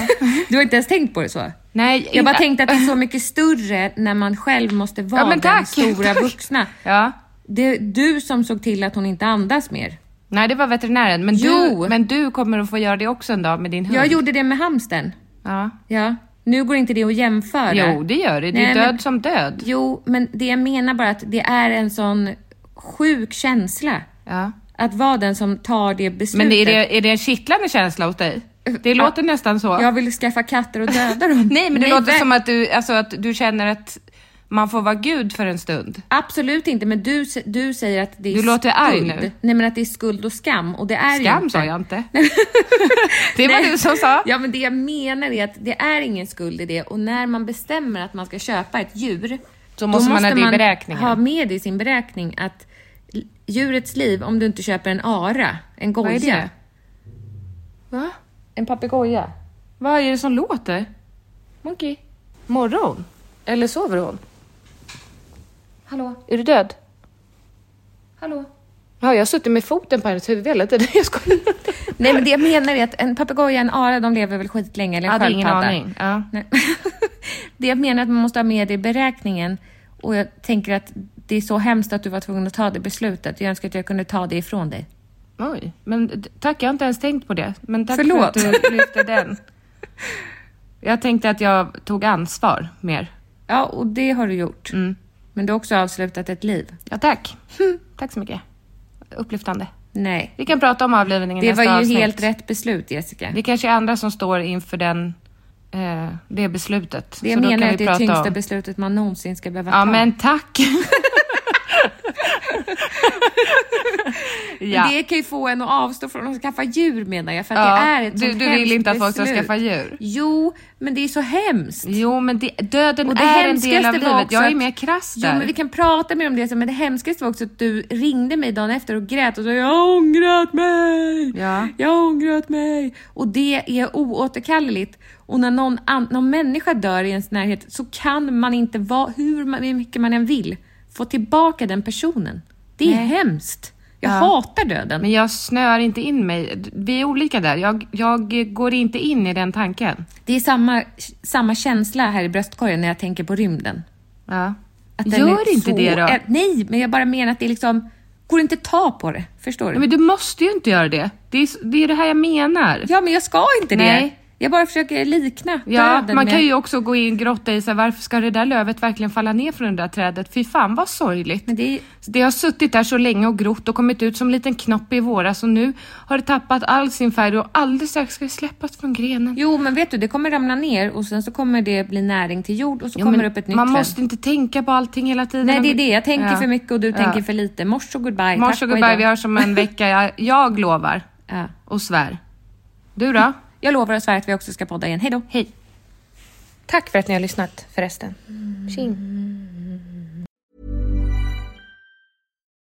[SPEAKER 3] Du har inte ens tänkt på det så?
[SPEAKER 2] Nej,
[SPEAKER 3] Jag bara
[SPEAKER 2] inte-
[SPEAKER 3] tänkte att det är så mycket större när man själv måste vara
[SPEAKER 2] Ja, men
[SPEAKER 3] den
[SPEAKER 2] tack,
[SPEAKER 3] stora
[SPEAKER 2] tack.
[SPEAKER 3] vuxna.
[SPEAKER 2] Ja.
[SPEAKER 3] Det är du som såg till att hon inte andas mer.
[SPEAKER 2] Nej, det var veterinären. Men
[SPEAKER 3] Jo.
[SPEAKER 2] du, men du kommer att få göra det också en dag med din hund.
[SPEAKER 3] Jag gjorde det med hamsten.
[SPEAKER 2] Ja.
[SPEAKER 3] Ja. Nu går inte det att jämföra.
[SPEAKER 2] Jo, det gör det. Det är
[SPEAKER 3] Nej,
[SPEAKER 2] död
[SPEAKER 3] men-
[SPEAKER 2] som död.
[SPEAKER 3] Jo, men det jag menar bara att det är en sån sjuk känsla.
[SPEAKER 2] Ja.
[SPEAKER 3] Att vara den som tar det beslutet.
[SPEAKER 2] Men är det, är det en kittlande känsla hos dig? Det låter nästan så.
[SPEAKER 3] Jag vill skaffa katter och döda dem.
[SPEAKER 2] Nej, men det låter
[SPEAKER 3] väl-
[SPEAKER 2] som att du, alltså, att du känner att man får vara gud för en stund.
[SPEAKER 3] Absolut inte, men du, s- du säger att det är
[SPEAKER 2] Du låter arg
[SPEAKER 3] skuld.
[SPEAKER 2] nu.
[SPEAKER 3] Nej men att det är skuld och skam och det är ju
[SPEAKER 2] Skam
[SPEAKER 3] inte.
[SPEAKER 2] sa jag inte. det var
[SPEAKER 3] Nej.
[SPEAKER 2] du som sa.
[SPEAKER 3] Ja men det jag menar är att det är ingen skuld i det och när man bestämmer att man ska köpa ett djur
[SPEAKER 2] Så måste man ha det i beräkningen.
[SPEAKER 3] ha med i sin beräkning att l- djurets liv, om du inte köper en ara, en
[SPEAKER 2] Vad är
[SPEAKER 3] goja.
[SPEAKER 2] det? Va? En papegoja? Vad är det som låter? Monkey? Morgon? Eller sover hon? Hallå? Är du död? Hallå? Ja, jag har suttit med foten på hennes huvud hela tiden. Jag skojar.
[SPEAKER 3] Nej men det jag menar är att en papegoja och en ara, de lever väl skitlänge, eller en
[SPEAKER 2] Jag hade ingen
[SPEAKER 3] sköldpadda.
[SPEAKER 2] aning. Ja.
[SPEAKER 3] Nej. det jag menar är att man måste ha med det i beräkningen och jag tänker att det är så hemskt att du var tvungen att ta det beslutet. Jag önskar att jag kunde ta det ifrån dig.
[SPEAKER 2] Oj, men d- tack, jag har inte ens tänkt på det. Men tack
[SPEAKER 3] Förlåt.
[SPEAKER 2] för att du lyfte den. Jag tänkte att jag tog ansvar mer. Mm.
[SPEAKER 3] Ja, och det har du gjort. Men du har också avslutat ett liv.
[SPEAKER 2] Ja, tack. Tack så mycket. Upplyftande.
[SPEAKER 3] Nej.
[SPEAKER 2] Vi kan prata om avlivningen i
[SPEAKER 3] Det
[SPEAKER 2] nästa
[SPEAKER 3] var ju
[SPEAKER 2] avsnitt.
[SPEAKER 3] helt rätt beslut, Jessica.
[SPEAKER 2] Det kanske är andra som står inför den, eh, det beslutet.
[SPEAKER 3] Det
[SPEAKER 2] Så då
[SPEAKER 3] menar
[SPEAKER 2] kan
[SPEAKER 3] jag
[SPEAKER 2] vi
[SPEAKER 3] att det är
[SPEAKER 2] prata
[SPEAKER 3] tyngsta
[SPEAKER 2] om-
[SPEAKER 3] beslutet man någonsin ska behöva
[SPEAKER 2] Ja,
[SPEAKER 3] ta.
[SPEAKER 2] men tack.
[SPEAKER 3] Men Det kan ju få en att avstå från att skaffa djur menar jag, för att
[SPEAKER 2] Ja,
[SPEAKER 3] det är ett
[SPEAKER 2] du-
[SPEAKER 3] sånt
[SPEAKER 2] du vill
[SPEAKER 3] hemskt
[SPEAKER 2] inte att folk ska
[SPEAKER 3] beslut.
[SPEAKER 2] skaffa djur.
[SPEAKER 3] Jo, men det är så hemskt.
[SPEAKER 2] Jo, men det, döden
[SPEAKER 3] Och det
[SPEAKER 2] är en
[SPEAKER 3] hemskaste
[SPEAKER 2] del av
[SPEAKER 3] var
[SPEAKER 2] livet.
[SPEAKER 3] också
[SPEAKER 2] Jag är
[SPEAKER 3] att-
[SPEAKER 2] mer krass där.
[SPEAKER 3] Jo, men vi kan prata mer om det sen, men det hemskaste var också att du ringde mig dagen efter och grät och sa jag har ångrat mig.
[SPEAKER 2] Ja.
[SPEAKER 3] Jag har ångrat mig. Och det är oåterkalleligt. Och när någon, an- någon människa dör i ens närhet så kan man inte, vara, hur man, hur mycket man än vill, få tillbaka den personen. Det är hemskt. Jag hatar döden.
[SPEAKER 2] Men jag snör inte in mig. Vi är olika där. Jag, jag går inte in i den tanken.
[SPEAKER 3] Det är samma, samma känsla här i bröstkorgen när jag tänker på rymden.
[SPEAKER 2] Ja.
[SPEAKER 3] Att den
[SPEAKER 2] Gör
[SPEAKER 3] är
[SPEAKER 2] inte
[SPEAKER 3] så-
[SPEAKER 2] det då.
[SPEAKER 3] eh, Nej, men jag bara menar att det är liksom, går inte att ta på det. Förstår du?
[SPEAKER 2] Nej, men du måste ju inte göra det. Det är s- det, är det här jag menar.
[SPEAKER 3] Ja, men jag ska inte
[SPEAKER 2] Nej.
[SPEAKER 3] det. Jag bara försöker likna
[SPEAKER 2] Ja,
[SPEAKER 3] döden
[SPEAKER 2] man kan
[SPEAKER 3] med...
[SPEAKER 2] ju också gå in och grotta i sig, varför ska det där lövet verkligen falla ner från det där trädet? Fy fan vad sorgligt.
[SPEAKER 3] Men det är-
[SPEAKER 2] det har suttit där så länge och grott och kommit ut som en liten knopp i våras och nu har det tappat all sin färg och alldeles strax ska det släppas från grenen.
[SPEAKER 3] Jo, men vet du, det kommer ramla ner och sen så kommer det bli näring till jord och så
[SPEAKER 2] Jo,
[SPEAKER 3] kommer
[SPEAKER 2] men
[SPEAKER 3] det upp ett nytt
[SPEAKER 2] man
[SPEAKER 3] träd.
[SPEAKER 2] måste inte tänka på allting hela tiden.
[SPEAKER 3] Nej, det är det. Jag tänker
[SPEAKER 2] Ja.
[SPEAKER 3] för mycket och du
[SPEAKER 2] Ja.
[SPEAKER 3] tänker för lite. Mors och goodbye.
[SPEAKER 2] Mars
[SPEAKER 3] Tack
[SPEAKER 2] och
[SPEAKER 3] och
[SPEAKER 2] goodbye,
[SPEAKER 3] hejdå.
[SPEAKER 2] vi hörs om en vecka. Jag, jag lovar
[SPEAKER 3] Ja.
[SPEAKER 2] och svär. Du då?
[SPEAKER 3] Jag lovar och svär att vi också ska podda igen. Hej då!
[SPEAKER 2] Hej.
[SPEAKER 3] Tack för att ni har lyssnat förresten.